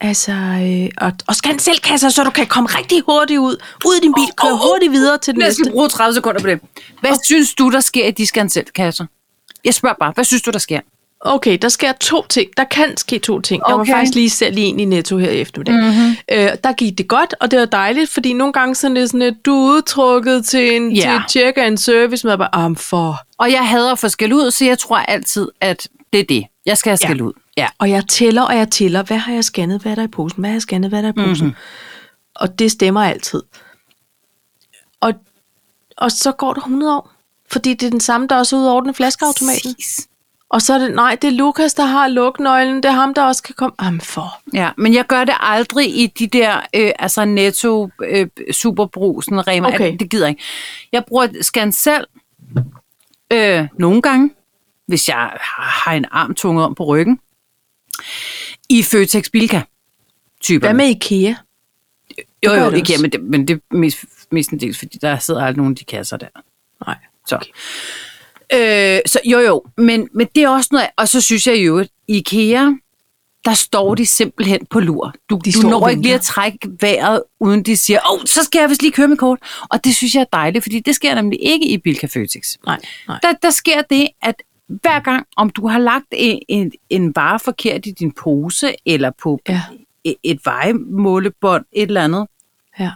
Altså, øh, og, og scan selvkasser, så du kan komme rigtig hurtigt ud. Ud i din bil, køre hurtigt videre til den
Jeg
næste.
skal bruge 30 sekunder på det. Hvad okay. synes du, der sker i de skanselkasser? Jeg spørger bare, hvad synes du, der sker?
Okay, der sker to ting. Der kan ske to ting. Okay. Jeg var
Okay. Mhm.
faktisk lige selv i en i Netto her i eftermiddag. Mm-hmm. Øh, der gik det godt, og det var dejligt, fordi nogle gange sådan lidt sådan, at du er udtrukket til en
Ja.
yeah. til check and service, med bare, am for.
Og jeg hader at få skæld ud, så jeg tror altid, at det er det. Jeg skal have skæld ud. Ja.
Og jeg tæller, og jeg tæller. Hvad har jeg scannet? Hvad er der i posen? Hvad har jeg scannet? Hvad er der
Mhm.
i posen? Mm-hmm. Og det stemmer altid. Og, og så går der 100 år, fordi det er den samme, der også er ude og ordne flaskeautomaten.
Præcis.
Og så er det, nej, det er Lukas, der har luknøglen. Det er ham, der også kan komme. Am for.
Ja, men jeg gør det aldrig i de der øh, altså netto øh, superbrusen Rema.
Okay.
Okay. Det gider jeg ikke. Jeg bruger scan selv øh, nogle gange, hvis jeg har har en arm tunget om på ryggen. I Føtex Bilka. Typer.
Hvad med IKEA?
Jo,
Det gør
jo,
det
ikke, ja,
også.
men, det, men det er mest, mestendels, fordi der sidder aldrig nogen af de kasser der.
Nej.
Så. Okay. Øh, så jo, jo, men, men det er også noget, og så synes jeg jo, at IKEA, der står de simpelthen på lur. Du,
De
de
står
du
og
når ikke
venter.
lige at trække vejret, uden de siger, åh, oh, så skal jeg vist lige køre med kort. Og det synes jeg er dejligt, fordi det sker nemlig ikke i Bilka Føtex.
Nej, nej.
Der, der sker det, at hver gang, om du har lagt en, en, en vare forkert i din pose, eller på
Ja.
et, et vejemålebånd, et eller andet,
Ja.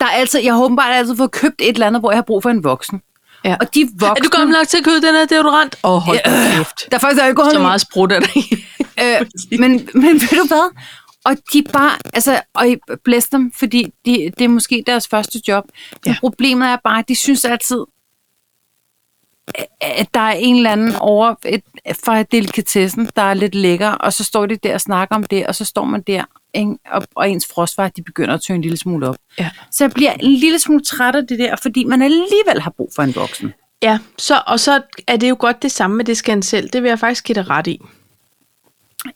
der er altid, jeg har åbenbart altid fået købt et eller andet, hvor jeg har brug for en voksen.
ja.
Og de voksne...
er du gammel nok til at købe den her deodorant? Åh, oh, hold da kæft.
Der er faktisk alkohol
Så
i.
meget sprut er der i.
Øh, men, men ved du hvad? Og de bare, altså, og I blæs dem, fordi de, det er måske deres første job. Ja. Men
Ja.
problemet er bare, at de synes altid, at der er en eller anden over et, fra delikatessen, der er lidt lækker, og så står de der og snakker om det, og så står man der, ikke? Og, og ens frostvar, de begynder at tøne en lille smule op.
Ja.
Så jeg bliver en lille smule træt af det der, fordi man alligevel har brug for en voksen.
Ja, så, og så er det jo godt det samme med det skal selv. Det vil jeg faktisk give dig ret i.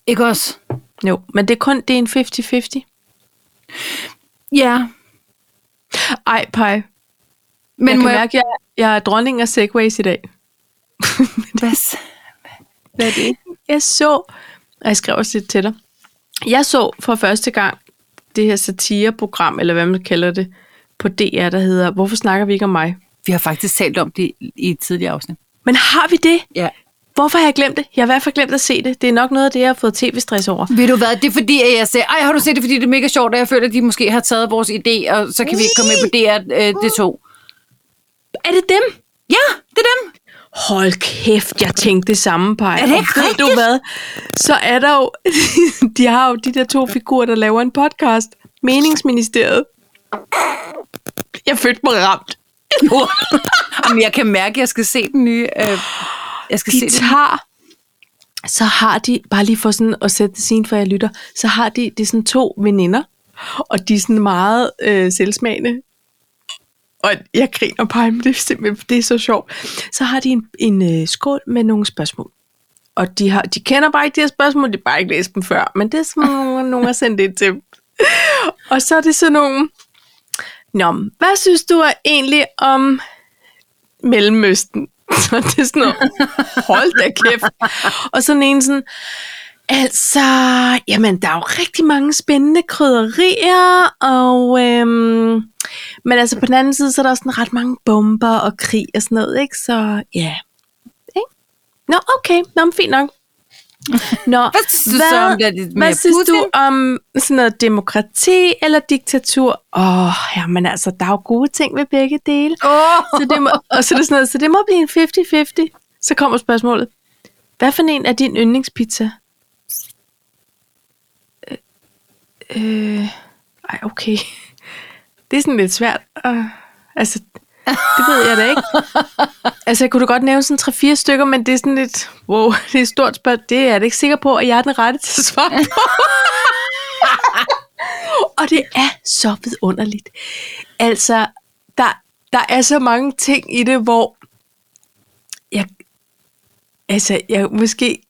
Ikke også?
Jo, men det er kun det er en
Ja,
50-50. Ej, pej. Men
men
jeg
må
kan
jeg...
mærke, at jeg, jeg er dronning af segways i dag.
Hvad, s- hvad er det?
Jeg så, og jeg skrev også lidt til dig, jeg så for første gang det her satireprogram, eller hvad man kalder det, på DR, der hedder Hvorfor snakker vi ikke om mig?
Vi har faktisk talt om det i et tidligere afsnit.
Men har vi det?
Ja.
Hvorfor har jeg glemt det? Jeg har i hvert fald glemt at se det. Det er nok noget af det, jeg har fået tv-stress over.
Ved du hvad, det er fordi, at jeg sagde, ej, har du set det, fordi det er mega sjovt, og jeg føler, at de måske har taget vores idé, og så kan vi ikke komme med på DR, øh, det to.
Er det dem?
Ja, det er dem.
Hold kæft, jeg tænkte det samme, Paj.
Er det
Og
ikke
ved du
rigtigt?
hvad? Så er der jo... de har jo de der to figurer, der laver en podcast. Meningsministeriet. Jeg følte mig ramt.
Jamen, jeg kan mærke, at jeg skal se den nye. Øh, jeg skal se
de
det.
tager, så har de, bare lige for sådan at sætte det scene, for jeg lytter, så har de, det er sådan to veninder, og de er sådan meget øh, selvsmagende. Og jeg griner bare, men det er simpelthen, det er så sjovt. Så har de en, en øh, skål med nogle spørgsmål. Og de, har, de kender bare ikke de her spørgsmål, de har bare ikke læst dem før, men det er sådan, nogle- nogen har sendt ind til dem. Og så er det sådan nogle, Nå, men hvad synes du er egentlig om Mellemøsten? Så det er sådan noget, hold da kæft. Og sådan en sådan, altså, jamen, der er jo rigtig mange spændende krydderier, og øhm, men altså på den anden side, så er der også sådan ret mange bomber og krig og sådan noget, ikke? Så ja, ikke? Nå, okay, nå, men fint nok. Nå, hvad
synes du så om det med
hvad synes
Putin?
du om sådan noget demokrati eller diktatur? Åh, oh, jamen altså, der er jo gode ting ved begge dele.
Åh,
Så det må, og så er det sådan noget, så det må blive en 50-50. Så kommer spørgsmålet. Hvad for en er din yndlingspizza? Øh, øh, ej, okay. Det er sådan lidt svært. Øh, altså, det ved jeg da ikke. Altså, jeg kunne da godt nævne sådan 3-4 stykker, men det er sådan lidt, wow, det er et stort spørgsmål. Det er jeg da ikke sikker på, at jeg er den rette til at svare på. Og det er så vidunderligt. Altså, der, der er så mange ting i det, hvor jeg, altså, jeg måske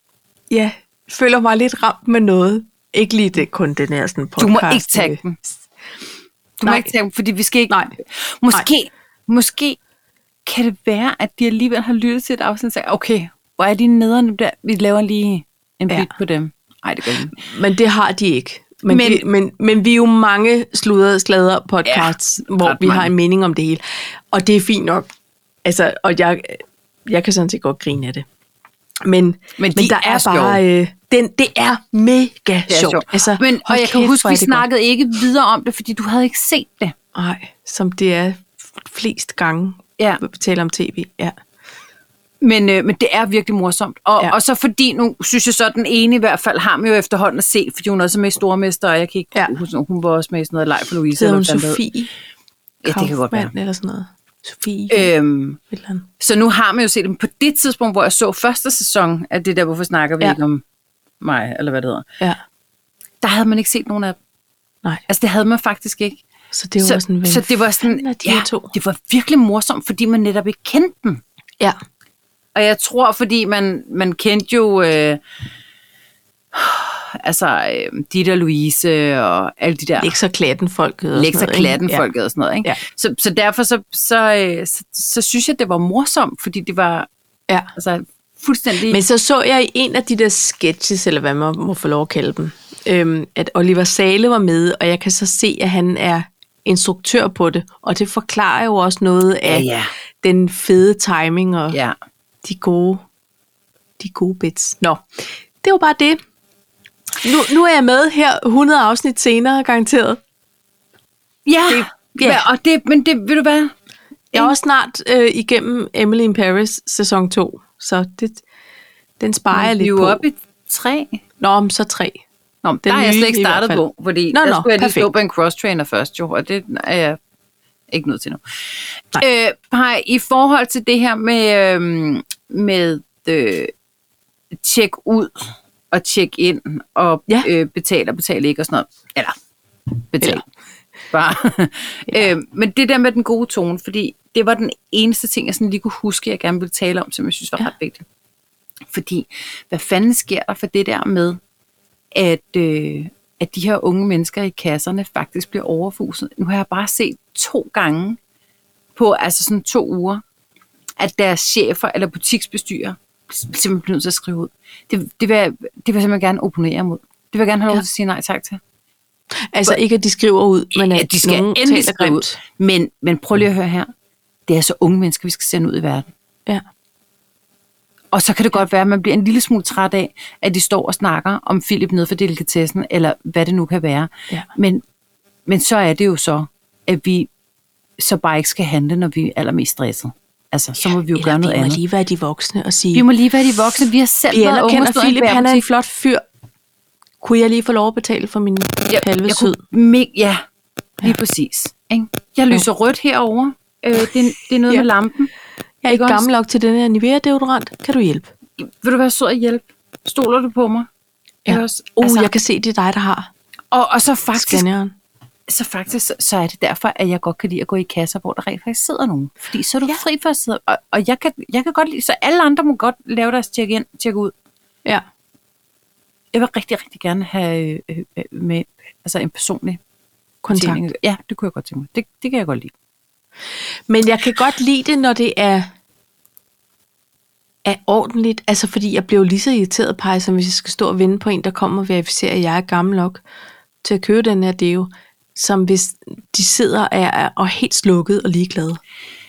ja, føler mig lidt ramt med noget. Ikke lige det, kun den her sådan podcast. øh,
du må ikke tage den. Du må
Nej.
ikke tage dem, fordi vi skal ikke...
Nej.
Måske, Nej. måske kan det være, at de alligevel har lyttet til et afsnit og sagt, okay, hvor er de nederne der? Vi laver lige en bit
Ja.
på dem. Nej, det gør vi ikke.
Men det har de ikke. Men,
Men-
men, de, men, men vi er jo mange sludder slader podcasts, ja, hvor
ret
vi har
mange.
en mening om det hele. Og det er fint nok. Altså, og jeg, jeg kan sådan set godt grine af det. Men, men, men
de
der
er
er bare... Øh, den, det er mega
Det er
sjovt.
sjovt. Altså, Men, og
hold
jeg kan
kæft,
huske,
hvor er
vi
det
snakkede godt. ikke videre om det, fordi du havde ikke set det.
godt. Nej, som det er flest gange,
Ja.
vi taler om tv. Ja.
Men, øh, men det er virkelig morsomt. Og, ja.
Ja.
og så fordi, nu synes jeg så, at den ene i hvert fald har man jo efterhånden at se, fordi hun er også med i Stormester, og jeg kan ikke
Ja.
ja. huske, hun var også med i sådan noget leg for Louise.
Hedder
eller
hun
hvad fanden
Sofie
det hed. Ja, det kan godt være.
Kaufmann eller sådan noget? Sofie øh,
Øhm,
eller andet.
så nu har man jo set dem på det tidspunkt, hvor jeg så første sæson af det der, hvorfor snakker vi ja.
Ja.
ikke om mig, eller hvad det hedder.
Ja,
Der havde man ikke set nogen af dem.
nej.
Altså, det havde man faktisk ikke.
Så det var
så,
sådan, hvem
så det var sådan,
fanden er de
ja,
her to?
det var virkelig morsomt, fordi man netop ikke kendte dem.
Ja.
Og jeg tror, fordi man, man kendte jo... Øh, altså, øh, Ditte og Louise og alle de der...
Læg så klatten folket. og
Læg
sådan noget,
sig
ikke?
klatten
Ja.
folket og sådan noget. Ikke?
Ja.
Så, så derfor så, så, øh, så, så, synes jeg, det var morsomt, fordi det var
Ja.
altså, fuldstændig...
Men så så jeg i en af de der sketches, eller hvad man må få lov at kalde dem, øhm, at Oliver Sale var med, og jeg kan så se, at han er instruktør på det, og det forklarer jo også noget af
ja.
den fede timing og ja.
ja.
de gode de gode bits. Nå, det var bare det. Nu, nu er jeg med her 100 afsnit senere, garanteret.
Ja,
Det- ja.
ja. Men, og det, men det, ved du hvad?
Jeg er også snart øh, igennem Emily in Paris sæson 2, så det, den sparer jeg
Vi er
lidt
jo
på.
oppe i tre.
Nå, men så tre.
Nå, men der er jeg
nye
slet
i
ikke
hvert
startet
fald.
på, fordi
Nå,
nå, der
nå,
skulle jeg lige
perfekt.
stå på en cross-trainer først, jo, og det er jeg ikke nødt til nu.
Nej.
Øh, Paj, I forhold til det her med, øhm, med øh, tjek ud og tjek ind og
Ja.
øh, betale og betale ikke og sådan noget. Eller betale.
Eller.
Bare. øh, men det der med den gode tone, fordi det var den eneste ting, jeg sådan lige kunne huske, jeg gerne ville tale om, som jeg synes var
Ja.
ret vigtigt. Fordi, hvad fanden sker der for det der med, at, øh, at de her unge mennesker i kasserne faktisk bliver overfuset. Nu har jeg bare set to gange på altså sådan to uger, at deres chefer eller butiksbestyrer simpelthen bliver nødt til at skrive ud. Det, det, vil, jeg, det vil jeg simpelthen gerne opponere mod. Det vil jeg gerne have lov
Ja.
til at sige nej tak til.
Altså ikke, at de skriver ud, men at,
At de skal
nogen
endelig
taler
skrive ud.
grimt.
Men, men prøv lige at høre her. Det er altså unge mennesker, vi skal sende ud i verden.
Ja.
Og så kan det godt være, at man bliver en lille smule træt af, at de står og snakker om Philip nede for delikatessen, eller hvad det nu kan være.
Ja.
Men, men så er det jo så, at vi så bare ikke skal handle, når vi er allermest stresset. Altså, så må vi jo
Eller
gøre noget
vi må
andet.
lige være de voksne og sige,
Vi må lige være de voksne. Vi har selv
vi
været unge og
anerkender
stået i en
Philip, han er en
bagerbutik.
flot fyr. Kunne jeg lige få lov at betale for min
jeg,
halve
jeg
syd?
kunne me- ja, lige ja. præcis. Ikke? Jeg lyser rødt herovre. Øh, det, er- det er noget
Ja.
med lampen.
Jeg er ikke
også?
gammel nok til den her Nivea-deodorant. Kan du hjælpe?
Vil du være sød og hjælpe? Stoler du på mig? Ikke Også,
Uh, altså, jeg kan se, det er dig, der har
og, og så faktisk
scanneren.
så faktisk, så- så er det derfor, at jeg godt kan lide at gå i kasser, hvor der rent faktisk sidder nogen. Fordi så er du ja.
Ja.
fri for at sidde. Og, og jeg, kan, jeg kan godt lide, så alle andre må godt lave deres tjek ind, tjek ud.
Ja.
Jeg vil rigtig, rigtig gerne have øh, øh, med altså en personlig
Kontakt.
betjening. Ja, det kunne jeg godt tænke mig. Det, det kan jeg godt lide.
Men jeg kan godt lide det, når det er, er ordentligt. Altså, fordi jeg bliver jo lige så irriteret, Paj, som hvis jeg skal stå og vente på en, der kommer og verificerer, at jeg er gammel nok til at købe den her deo, som hvis de sidder og er, er- og er helt slukket og ligeglade.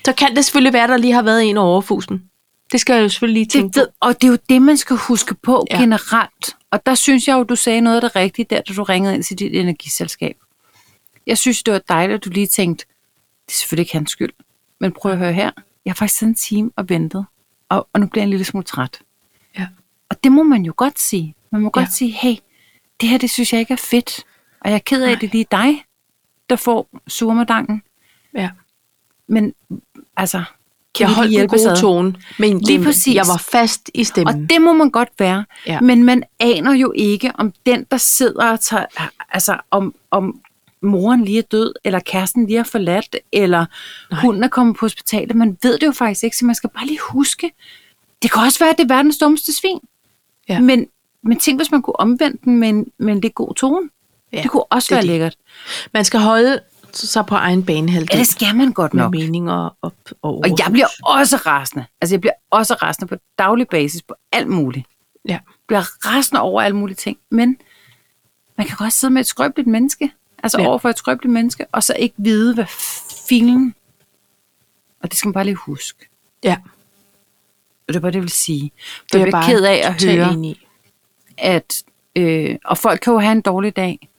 Så kan det selvfølgelig være, der lige har været en over overfusen. Det skal jeg jo selvfølgelig lige tænke
Det,
på.
det, og det er jo det, man skal huske på ja.
Ja.
generelt. Og der synes jeg jo, du sagde noget af det rigtige, der da du ringede ind til dit energiselskab. Jeg synes, det var dejligt, at du lige tænkte, det er selvfølgelig ikke hans skyld, men prøv at høre her. Jeg har faktisk siddet en time og ventet, og, og nu bliver jeg en lille smule træt.
Ja.
Og det må man jo godt sige. Man må godt
Ja.
sige, hey, det her, det synes jeg ikke er fedt. Og jeg er ked af, at det er lige dig, der får surmedangen.
Ja.
Men altså, kan
Jeg
vi lige
holdt en
hjælpes
god
ad?
tone, men
Lige
jamen,
præcis.
jeg var fast i
Og
stemmen.
det må man godt være. Ja.
Ja.
Men man aner jo ikke, om den, der sidder og tager, altså om, om moren lige er død, eller kæresten lige er forladt, eller Nej. hunden er kommet på hospitalet. Man ved det jo faktisk ikke, så man skal bare lige huske. Det kan også være, at det er verdens dummeste svin. Ja.
Ja.
Men, men tænk, hvis man kunne omvende den med en, med en lidt god tone. Ja,
Ja,
det kunne også
det er
være
det.
lækkert.
Man skal holde sig på egen banehalvdel
Ja, det skal man godt
med
nok.
meninger op og
Og jeg
overfus.
bliver også rasende. Altså, jeg bliver også rasende på daglig basis på alt muligt.
Ja.
bliver rasende over alle mulige ting, men man kan godt sidde med et skrøbeligt menneske, altså ja.
Ja.
over for et skrøbeligt menneske, og så ikke vide, hvad filen, og det skal man bare lige huske.
ja,
Og det er bare det, jeg vil sige.
det
For
er
jeg
jeg
bliver
bare
ked af at
totalt
høre,
enig i.
at, øh, og folk kan jo have en dårlig dag,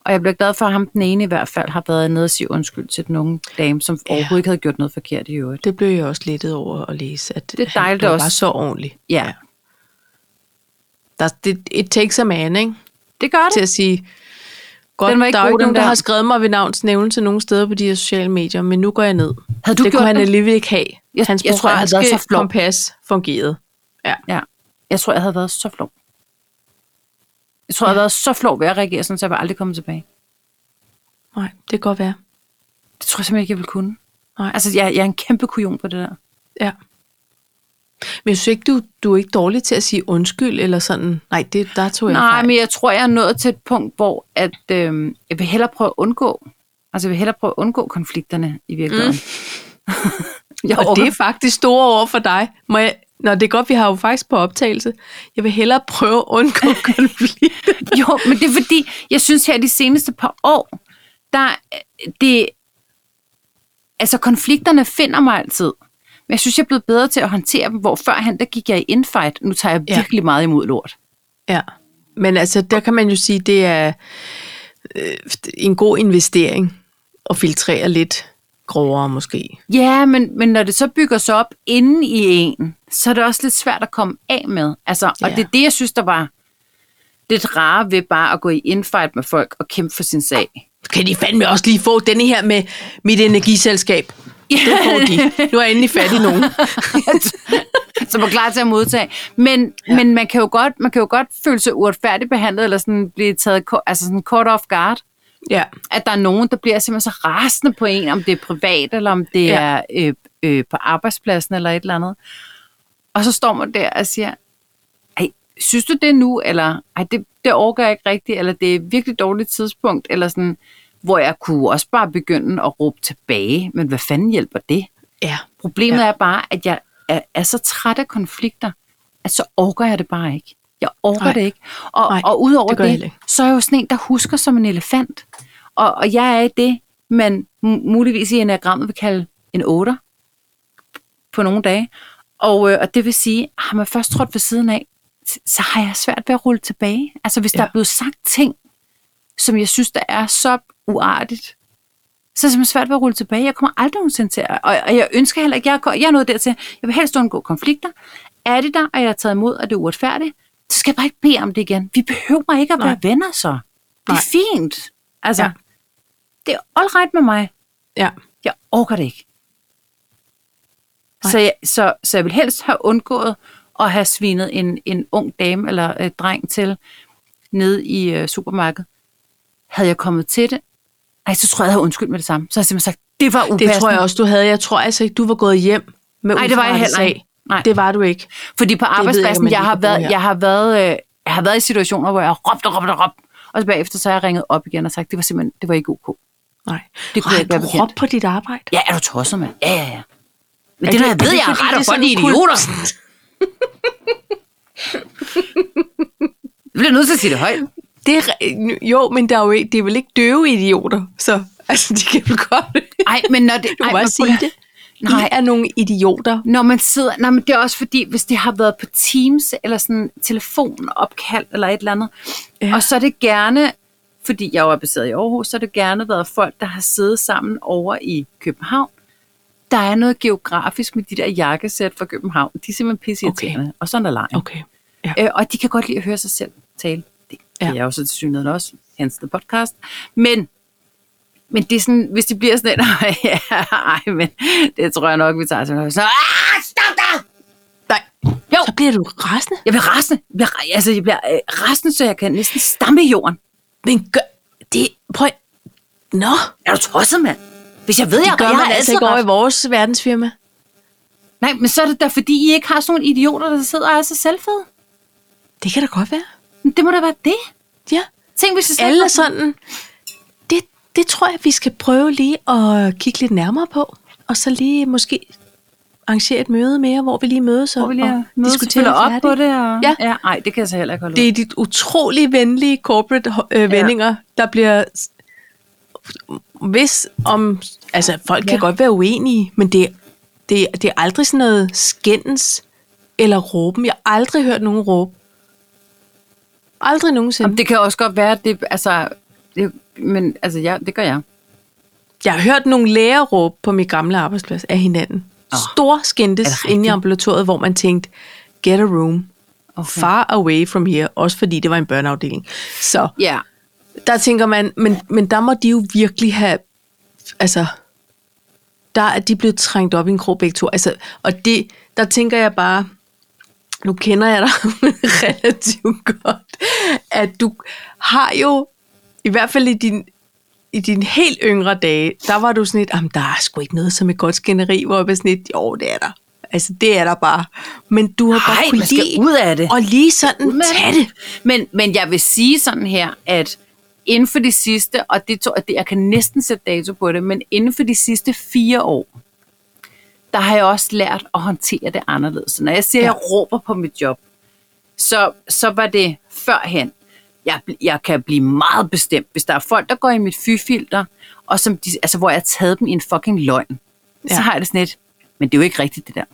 og jeg bliver glad for, at ham den ene i hvert fald har været nede og sige undskyld til den unge dame, som ja. overhovedet ikke havde gjort noget forkert i øvrigt.
Det blev jeg også lettet over at læse, at
er dejligt
han blev
også.
bare så ordentlig.
Ja,
Der, det, it takes a man, ikke?
det gør
Til
det.
at sige, godt,
Den var ikke
der er jo
god,
ikke
den
nogen, der
der.
har skrevet mig ved navns nævnelse nogen steder på de her sociale medier, men nu går jeg ned.
Havde du
det
gjort
kunne han
det?
alligevel ikke have.
Jeg-
Hans
jeg tror, jeg havde været
moralske
så flov.
kompas fungerede. Ja.
Ja. Jeg tror, jeg havde været så flov. Jeg tror, jeg havde været så flov ved at reagere sådan, så jeg var aldrig kommet tilbage.
Nej, det kan godt være.
Det tror jeg simpelthen ikke, jeg ville kunne.
Nej.
Altså, jeg, jeg er en kæmpe kujon på det der.
Ja. Men jeg synes ikke, du, du er ikke dårlig til at sige undskyld, eller sådan. Nej, det, der tog jeg
Nej,
fejl.
men jeg tror, jeg er nået til et punkt, hvor at, øhm, jeg vil hellere prøve at undgå. Altså, jeg vil hellere prøve at undgå konflikterne i virkeligheden. Mm. jeg
Og det
orker-
er faktisk store over for dig. Må jeg, Nå, det er godt, vi har jo faktisk på optagelse. Jeg vil hellere prøve at undgå konflikt.
jo, men det er fordi, jeg synes her de seneste par år, der øh, det, altså konflikterne finder mig altid. Men jeg synes, jeg er blevet bedre til at håndtere dem, hvor førhen, der gik jeg i infight. Nu tager jeg
Ja.
virkelig meget imod lort.
Ja, men altså, der kan man jo sige, det er øh, en god investering at filtrere lidt grovere måske.
Ja, men, men når det så bygger sig op inde i en, så er det også lidt svært at komme af med. Altså, og
Ja.
det er det, jeg synes, der var... Det rare ved bare at gå i infight med folk og kæmpe for sin sag.
Kan de fandme også lige få denne her med mit energiselskab? Yeah. Det får de. Nu er jeg endelig fat i nogen.
som er Altså, klar til at modtage. Men, ja. men man, kan jo godt, man kan jo godt føle sig uretfærdigt behandlet, eller sådan blive taget ko- altså sådan caught off guard.
ja.
At der er nogen, der bliver simpelthen så rasende på en, om det er privat, eller om det
Ja.
ja. er øh, øh, på arbejdspladsen, eller et eller andet. Og så står man der og siger, Ej, synes du det nu, eller Ej, det, det overgår jeg ikke rigtigt, eller det er et virkelig dårligt tidspunkt, eller sådan, hvor jeg kunne også bare begynde at råbe tilbage, men hvad fanden hjælper det?
Ja.
Problemet
Ja.
ja. er bare, at jeg er, er så træt af konflikter, at så orker jeg det bare ikke. Jeg orker
Nej.
det ikke. Og,
Nej,
og udover
det gør jeg
det,
heller ikke.
så er jeg jo sådan en, der husker som en elefant. Og, og jeg er i det, man mu- muligvis i enagrammet vil kalde en otter på nogle dage. Og, øh, og det vil sige, har man først trådt ved siden af, s- så har jeg svært ved at rulle tilbage. Altså hvis ja. der
Ja.
er blevet sagt ting, som jeg synes, der er så uartigt, så er det simpelthen svært ved at rulle tilbage. Jeg kommer aldrig nogensinde til at, og, og jeg ønsker heller ikke, jeg, er- jeg er nået dertil, jeg vil helst undgå konflikter. Er det der, og jeg har taget imod, og det er uretfærdigt, så skal jeg bare ikke bede om det igen. Vi behøver ikke at være
Nej.
venner så. Det
Nej.
er fint. Altså,
Ja.
ja. det er all right med mig.
Ja.
Jeg orker det ikke.
Nej.
Så jeg, så, så jeg vil helst have undgået at have svinet en, en ung dame eller øh, dreng til nede i øh, supermarkedet. Havde jeg kommet til det, ej, så tror jeg, jeg havde undskyldt med det samme. Så har jeg simpelthen sagt, det var
Det
upassende.
tror jeg også, du havde. Jeg tror altså ikke, du var gået hjem med
Nej, det var jeg
uforrettet
heller ikke.
sag.
Nej.
Det var du ikke.
Fordi på
jeg ikke, om
arbejdspladsen,
man
jeg,
lige
har
kan bruge
været,
her.
jeg, har været, øh, jeg har været i situationer, hvor jeg har råbt og råbt og råbt. Og så bagefter, så har jeg ringet op igen og sagt, det var simpelthen, det var ikke ok.
Nej.
Det kunne
Ej,
jeg ikke være
du
bekendt.
råbte på dit arbejde.
Ja, er du tosset, mand? Ja, ja, ja. Men
Er
det, når
det-
jeg
er
ved,
det fordi,
jeg er
det er
ret og
sådan
godt i
en kul-
idioter. Jeg bliver nødt til at sige det højt.
Det er, re- jo, men der er jo ikke, det er vel ikke døve idioter, så altså, de kan vel godt...
Nej, men når det...
Du
ej,
må bare
men prøv
sige
lige-
det. Nej. I
Nej.
er nogle idioter.
Når man sidder... Nej, men det er også fordi, hvis det har været på Teams, eller sådan telefonopkald, eller et eller andet,
Ja.
ja. og så er det gerne, fordi jeg jo er baseret i Aarhus, så har det gerne været folk, der har siddet sammen over i København. Der er noget geografisk med de der jakkesæt fra København. De er simpelthen pisseirriterende. Okay. Og sådan er lejen.
Okay. Ja.
Øh, og de kan godt lide at høre sig selv tale. Det
Ja.
ja. kan jeg jo så til synligheden også, hans the podcast. Men, men det er sådan, hvis det bliver sådan en, ja, ej, men det tror jeg nok, vi tager sådan så, ah, stop dig!
Nej.
Jo.
Så bliver du rasende.
Jeg bliver rasende. Jeg bliver, altså, jeg bliver øh, rasende, så jeg kan næsten stampe i jorden.
Men gør... Det... Prøv... Nå,
Er du tosset, mand? Hvis jeg ved, jeg,
det gør
jeg
man
har
altså
altid
ikke over
ret.
i vores verdensfirma.
Nej, men så er det da, fordi I ikke har sådan nogle idioter, der sidder og er så selvfede.
Det kan da godt være.
Men det må da være det.
Ja.
Tænk, hvis jeg selv
Alle er sådan... Det, det tror jeg, vi skal prøve lige at kigge lidt nærmere på. Og så lige måske arrangere et møde mere, hvor vi lige mødes og,
Hvor vi lige
og
mødes og følger
det
op
færdigt.
på det. Og...
Ja.
ja. Ej, det kan jeg så heller ikke holde ud.
Det er dit utrolig venlige corporate øh, vendinger, der bliver... s- Hvis om... Altså, folk ja. kan
Ja.
godt være uenige, men det, det, det er aldrig sådan noget skændens eller råben. Jeg har aldrig hørt nogen råbe. Aldrig nogensinde.
Jamen, det kan også godt være, at det, altså, det, men altså, ja, det gør jeg.
Jeg har hørt nogle læger råbe på min gamle arbejdsplads af hinanden. Oh, Stor
er det
skændtes
rigtigt?
inde i ambulatoriet, hvor man tænkte, get a room. Okay.
Okay.
Far away from here. Også fordi det var en børneafdeling. Så
Ja.
der tænker man, men, men der må de jo virkelig have, altså, der er de blevet trængt op i en krog begge to. Altså, og det, der tænker jeg bare, nu kender jeg dig relativt godt, at du har jo, i hvert fald i din, i dine helt yngre dage, der var du sådan et, jamen der er sgu ikke noget som et godt skænderi, hvor jeg var sådan et, jo det er der. Altså det er der bare. Men du har
Ej,
godt kunne
man skal
lide
ud af det.
Og lige sådan tage det.
Men, men jeg vil sige sådan her, at inden for de sidste, og det tror jeg, jeg kan næsten sætte dato på det, men inden for de sidste fire år, der har jeg også lært at håndtere det anderledes. Så når jeg siger, at
Ja.
jeg råber på mit job, så, så var det førhen. Jeg, bl- jeg kan blive meget bestemt, hvis der er folk, der går i mit fyfilter, og som de, altså, hvor jeg har taget dem i en fucking løgn. Ja.
Ja.
Så har jeg det sådan lidt, men det er jo ikke rigtigt det der.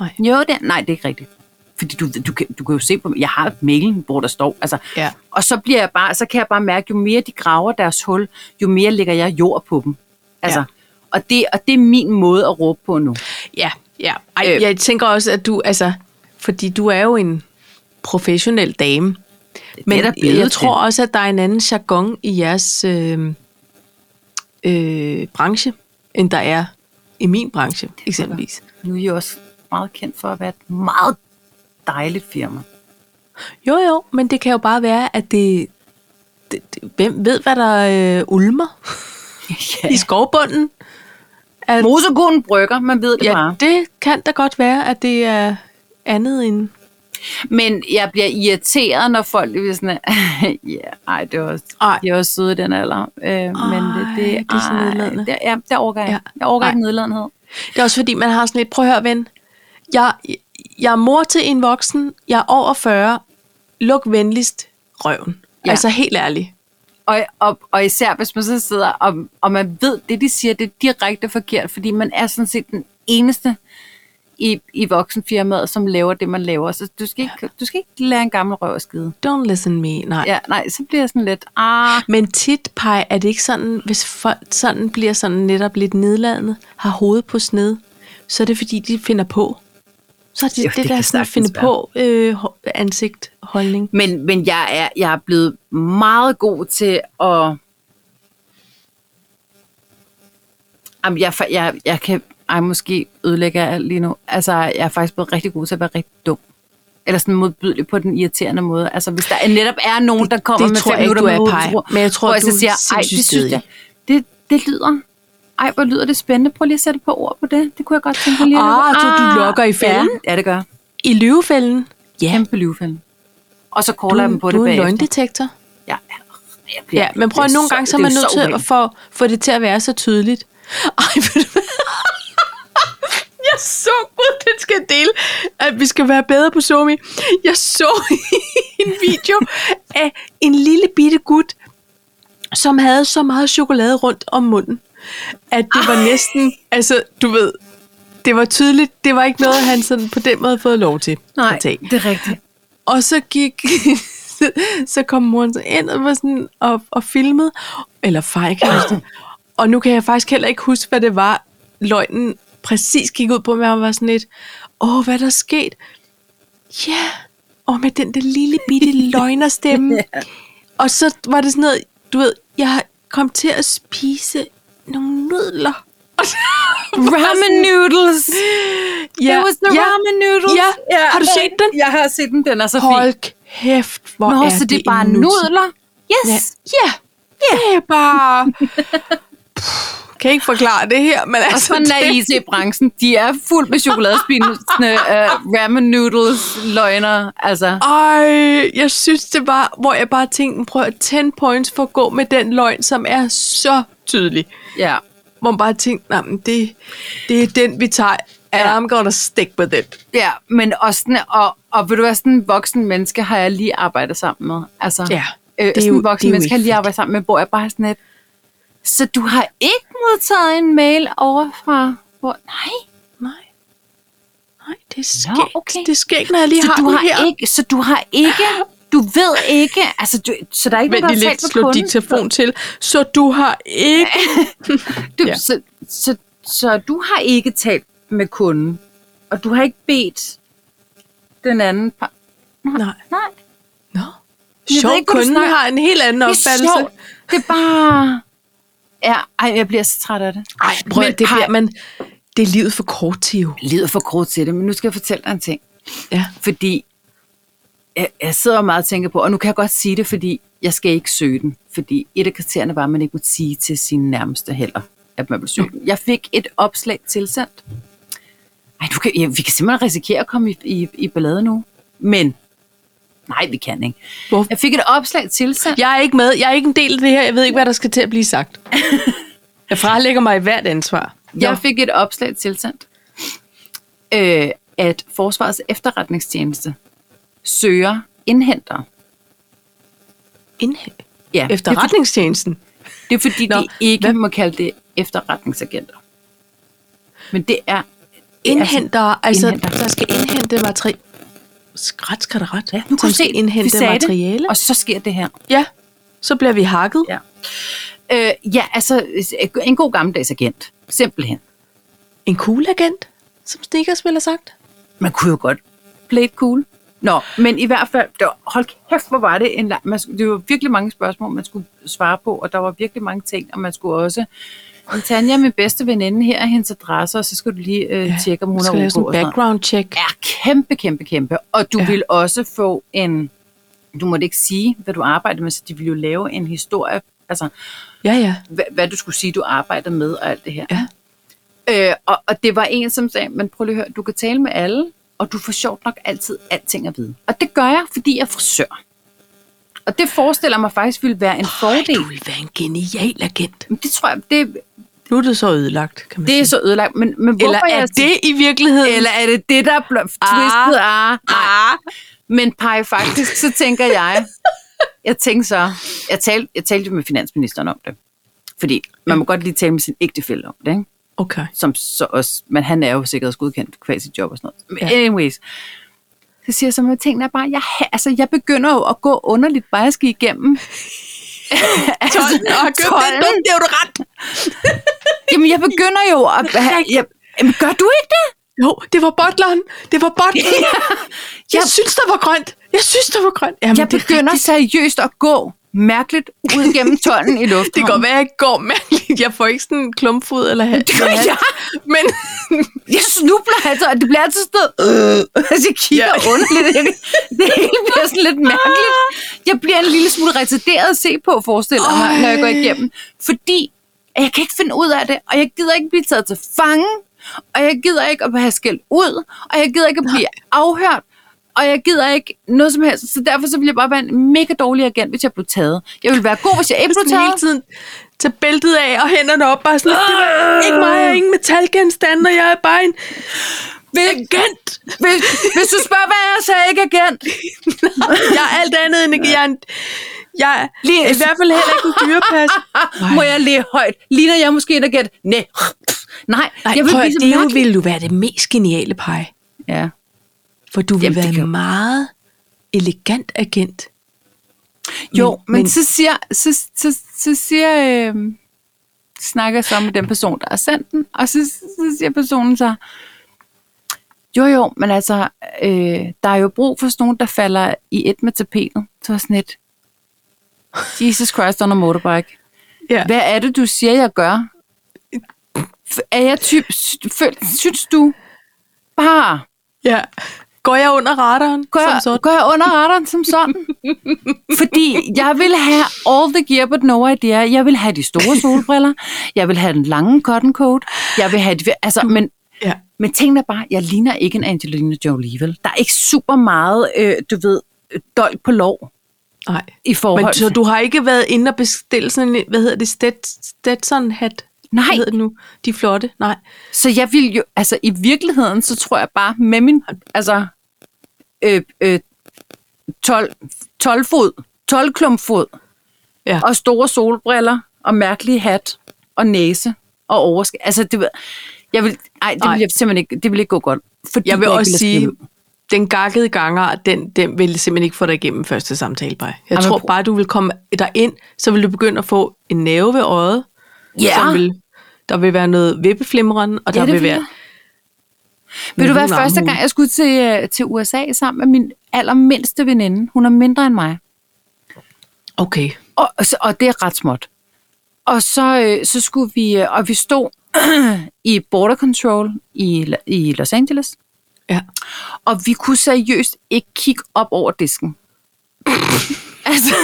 Nej.
Jo, det er, nej, det er ikke rigtigt. Fordi du, du, kan, du kan jo se på mig, jeg har mailen, hvor der står, altså,
Ja.
og så, bliver jeg bare, så kan jeg bare mærke, jo mere de graver deres hul, jo mere lægger jeg jord på dem. Altså,
Ja.
ja. og, det, og det er min måde at råbe på nu.
Ja, ja. Ej, øh.
Øh.
jeg tænker også, at du, altså, fordi du er jo en professionel dame, Men
da
jeg,
blevet
jeg
til.
tror også, at der er en anden jargon i jeres øh, øh, branche, end der er i min branche, eksempelvis.
Nu er I også meget kendt for at være et meget dejligt firma.
Jo, jo, men det kan jo bare være, at det... det, det hvem ved, hvad der øh, ulmer
ja.
i skovbunden? At,
Mosekonen brygger, man ved det ja.
ja,
bare.
det kan da godt være, at det er andet end...
Men jeg bliver irriteret, når folk bliver sådan, ja, ej, det er også,
Ej.
de er også søde i den alder. Øh, men det, det,
det er så
ej,
nedladende.
Det, ja, der overgår jeg.
Ja.
Ja. Jeg overgår
Ej.
ikke nedladenhed.
Det er også fordi, man har sådan lidt, prøv at høre, ven. Jeg, jeg er mor til en voksen, jeg er over 40. Luk venligst røven. Ja.
Ja.
Altså helt ærligt.
Og, og, og især hvis man så sidder, og, og man ved, det de siger, det er direkte forkert, fordi man er sådan set den eneste i, i voksenfirmaet, som laver det, man laver. Så du skal ikke, du skal ikke lære en gammel røv at skide.
Don't listen me, nej. Ja.
Ja, nej, så bliver jeg sådan lidt, ah,
Men tit, Paj, er det ikke sådan, hvis folk sådan bliver sådan netop lidt nedladende, har hovedet på sned, så er det fordi, de finder på. Så er det,
Jo,
jo, det,
det
det der
kan
sådan
sagtens
finde på øh, ho- ansigt, holdning.
Men, men jeg, er, jeg er blevet meget god til at... Jamen, jeg, er fa- jeg, jeg kan... Ej, måske ødelægger jeg alt lige nu. Altså, jeg er faktisk blevet rigtig god til at være rigtig dum. Eller sådan modbydelig på den irriterende måde. Altså, hvis der netop er nogen, der kommer
det
med
tror
fem
jeg ikke,
minutter
du
med
er,
hovedet på
Paj.
bordet,
Men jeg tror,
hvor jeg
du
så
er
siger, ej,
sindssygt
det synes jeg,
stædig."
det, det lyder... Ej, hvor lyder det spændende. Prøv lige at sætte på ord på det. Det kunne jeg godt tænke på lige. nu.
Ah, så du lokker i fælden?
Ja, ja det gør jeg.
I løvefælden, ja,
Kæmpe lyvefælde. Og så
du,
caller jeg dem
er-
på
du
det
er en
bagefter.
løgndetektor.
Ja, jeg bliver,
Ja, men prøv at
det er
nogle gange, så er
det
man
jo
nødt til at
ubehageligt.
få, få det til at være så tydeligt. Ej, ved du hvad? Jeg så, gud, den skal jeg dele, at vi skal være bedre på Zomi. Jeg så en video af en lille bitte gut, som havde så meget chokolade rundt om munden, at det var næsten, altså, du ved, det var tydeligt, det var ikke noget, han sådan på den måde havde fået lov til
Nej,
at tage.
det er rigtigt.
Og så gik, så- så kom moren så ind og, var sådan, og, og filmede, eller far, jeg kan ikke huske det. Og nu kan jeg faktisk heller ikke huske, hvad det var, løgnen præcis gik ud på, men jeg var sådan lidt, åh, hvad er der sket? Ja, yeah. og med den der lille bitte løgnerstemme. Og så var det sådan noget, du ved, jeg kom til at spise nogle nudler.
Ramen noodles.
Ja,
It was the
ja,
ramen noodles.
Ja. Har du set den?
Jeg har set den. Den er så fin.
Hold kæft, hvor
Nå,
er
så det
det
er bare
en nutid.
nudler. Yes.
Ja. ja. Det er bare... Puh, kan ikke forklare det her, men
Og
altså...
sådan er
det,
IT-branchen. De er fuld med chokoladespinende
øh,
uh, ramen noodles løgner. Altså,
ej, jeg synes det var, hvor jeg bare tænkte, prøv at 10 points for at gå med den løgn, som er så tydelig.
ja.
Hvor man bare tænkte, nej, men det, det er den, vi tager. And I'm gonna stick with it.
Ja, men også sådan, og, og vil du være sådan en voksen menneske, har jeg lige arbejdet sammen med. Altså,
Ja,
øh,
det er
sådan
jo-
en voksen
det er jo
menneske, har jeg
ikke
lige arbejdet sammen med, hvor jeg bare er sådan lidt, så du har ikke modtaget en mail over fra, hvor, nej,
Nej. Nej, det er skægt.
Nå, okay.
Det er skægt, når jeg lige
så
har
du
den
har
her.
ikke, så du har ikke, du ved ikke, altså, du, så der er ikke
Vent
nogen,
lige
der har
lidt,
talt med
slå
kunden.
diktafon til. Så du har ikke...
Du,
Ja.
ja. så, så, så du har ikke talt med kunden, og du har ikke bedt den anden par,
Nej.
nej,
Nå.
ved
Sjov,
ikke, hvad du
kunden
snakker-
har en helt anden
Det er
opfattelse.
sjovt. Det er bare... Ja, ej, jeg bliver så træt af det.
Ej, prøv
Men
men, det
Paj-
bliver man... Det er livet for kort til jo.
Livet er for kort til det, men nu skal jeg fortælle dig en ting.
Ja.
Fordi jeg, jeg sidder meget og tænker på, og nu kan jeg godt sige det, fordi jeg skal ikke søge den. Fordi et af kriterierne var, at man ikke måtte sige til sine nærmeste heller, at man ville søge den. Jeg fik et opslag tilsendt. Ej, du kan, ja, vi kan simpelthen risikere at komme i, i, i ballade nu. Men, nej, vi kan ikke.
Hvorfor?
Jeg fik et opslag tilsendt.
Jeg er ikke med. Jeg er ikke en del af det her. Jeg ved ikke, hvad der skal til at blive sagt. Jeg frelægger mig i hvert ansvar.
Jeg fik et opslag tilsendt, øh, at Forsvarets efterretningstjeneste søger indhenter.
Indh-
Ja,
Efterretningstjenesten.
Det er fordi,
Nå,
Nå, de ikke
hvad-
hvad? må kalde det efterretningsagenter. Men det er... det er
Indhenter, altså,
Indhenter.
der skal indhente materiale. Skræt skal det ret. Ja,
sådan- Nu kan du se, vi
indhente
sagde
materiale.
det, og så sker det her.
Ja, så bliver vi hakket.
Ja. Øh, ja, altså en god gammeldags agent. Simpelthen.
En cool agent, som Snickers ville have sagt.
Man kunne jo godt play it cool. Nå, men i hvert fald, det var, hold kæft, hvor var det en lang, man, skulle- det var virkelig mange spørgsmål, man skulle svare på, og der var virkelig mange ting, og man skulle også, "Men Tanja, min bedste veninde, her er hendes adresse, og så skulle du lige øh, tjekke, om hun
skal
er
lave
ok.
sådan en
og sådan noget."
background check.
er kæmpe, kæmpe, kæmpe. Og du
Ja.
ja. vil også få en... Du måtte ikke sige, hvad du arbejder med, så de ville jo lave en historie, altså
Ja, ja.
hvad, hvad du skulle sige, du arbejder med og alt det her.
Ja.
Øh, og, og det var en, som sagde, men prøv lige at høre, du kan tale med alle, og du får sjovt nok altid alting at vide. Og det gør jeg, fordi jeg er frisør. Og det forestiller mig faktisk ville være en
Ej,
fordel.
du vil være en genial agent.
Men det tror jeg, det,
Nu er det så ødelagt, kan man
det er
sige.
så ødelagt. Men, men hvorfor
Eller er
jeg
det i virkeligheden?
Eller er det det, der er bl- twistet? Ah, ah,
Ah.
Men pege faktisk, så tænker jeg, jeg tænker så, jeg talte, jeg talte jo med finansministeren om det. Fordi man må godt lige tale med sin ægtefælle om det, ikke?
Okay.
som så også, men han er jo sikkerhedsgodkendt kvæl sit job og sådan noget. Men
Ja.
ja. anyways, så siger jeg så, at tingene er bare, jeg, ha- altså, jeg begynder jo at gå underligt bajerski igennem. altså, tolden.
det er jo ret.
Jamen, jeg begynder jo at... Jeg, jamen, gør du ikke det?
Jo, det var bottleren. Det var bottleren. Jeg synes, der var grønt. Jeg synes, der var grønt. Jamen,
Jeg
det er
begynder
rigtigt.
seriøst at gå mærkeligt ud gennem tolden i lufthavnen.
Det kan godt være, jeg ikke går mærkeligt. Jeg får ikke sådan en klumpfod eller hat.
gør
eller hat.
jeg.
Men
Jeg snubler altså, og det bliver altid sådan noget, øh, altså jeg kigger
Ja.
yeah. underligt. Jeg, det hele bliver sådan lidt mærkeligt. Jeg bliver en lille smule retarderet at se på, forestiller jeg mig, når jeg går
Ej.
igennem. Fordi at jeg kan ikke finde ud af det, og jeg gider ikke blive taget til fange, og jeg gider ikke at have skældt ud, og jeg gider ikke at blive afhørt, og jeg gider ikke noget som helst. Så derfor så ville jeg bare være en mega dårlig agent, hvis jeg blev taget. Jeg ville være god, hvis jeg ikke blev
sådan hele
taget.
tiden tage bæltet af og hænderne op. Bare sådan, det var ikke
Øh.
mig, jeg er ingen metalgenstande, og jeg er bare en agent.
Hvis, hvis du spørger, hvad jeg sagde, ikke agent.
Jeg er alt andet end ikke. Jeg er, en, jeg er
Lige-
i hvert fald heller ikke en dyrepas.
Ah, Må jeg læge højt? Ligner jeg måske en agent? Nej. Nej,
Nej,
jeg vil
prøv,
blive
at-
så
det jo
mærkelig.
ville jo være det mest geniale pege.
Ja.
For du vil
Jamen, det
være
kan
en
jo-
meget elegant agent.
Jo, men,
men-
men så siger, så, så, så siger øh, snakker jeg så med den person, der har sendt den, og så, så siger personen så, jo jo, men altså, øh, der er jo brug for sådan nogen, der falder i et med tapetet. Så var jeg sådan et, Jesus Christ on a motorbike.
Ja.
Hvad er det, du siger, jeg gør? F- Er jeg typ, føl- synes du, bare
ja. Går jeg under radaren?
Går jeg,
som sådan?
går jeg under radaren som sådan? Fordi jeg vil have all the gear, but no idea. Jeg vil have de store solbriller. Jeg vil have den lange cotton coat. Jeg vil have de, altså, men,
Ja.
men tænk dig bare, jeg ligner ikke en Angelina Jolie, vel? Der er ikke super meget, øh, du ved, øh, dolk på lov
Nej.
i forhold
Men så
til...
du har ikke været inde og bestille sådan en, hvad hedder det, Stet- Stetson-hat?
Nej.
Hvad hedder det nu? De er flotte. Nej.
Så jeg vil jo, altså i virkeligheden, så tror jeg bare med min, altså, øh, øh, 12, 12 fod, 12 klumpfod,
Ja.
og store solbriller, og mærkelige hat, og næse, og overskæg. Altså, det, ved- jeg vil, ej, det
Ej.
vil jeg simpelthen ikke, det vil ikke gå godt. Fordi
Jeg vil
ikke
også
ville
sige,
skrive ud.
den gakkede ganger, den, den vil simpelthen ikke få dig igennem første samtale, bare. Jeg
Ej, men
tror
prøv-
bare, du vil komme dig ind, så vil du begynde at få en næve ved øjet.
Ja.
Som vil, der vil være noget vippeflimrende, og der
det
vil
vil
være...
jeg. Vil du
Men
være
hun er
første
hun.
gang, jeg skulle til, øh, til USA sammen med min allermindste veninde? Hun er mindre end mig.
Okay.
Og, og så- og det er ret småt. Og så, øh, så skulle vi, øh, og vi stod i border control i, La- i Los Angeles,
Ja.
og vi kunne seriøst ikke kigge op over disken. altså,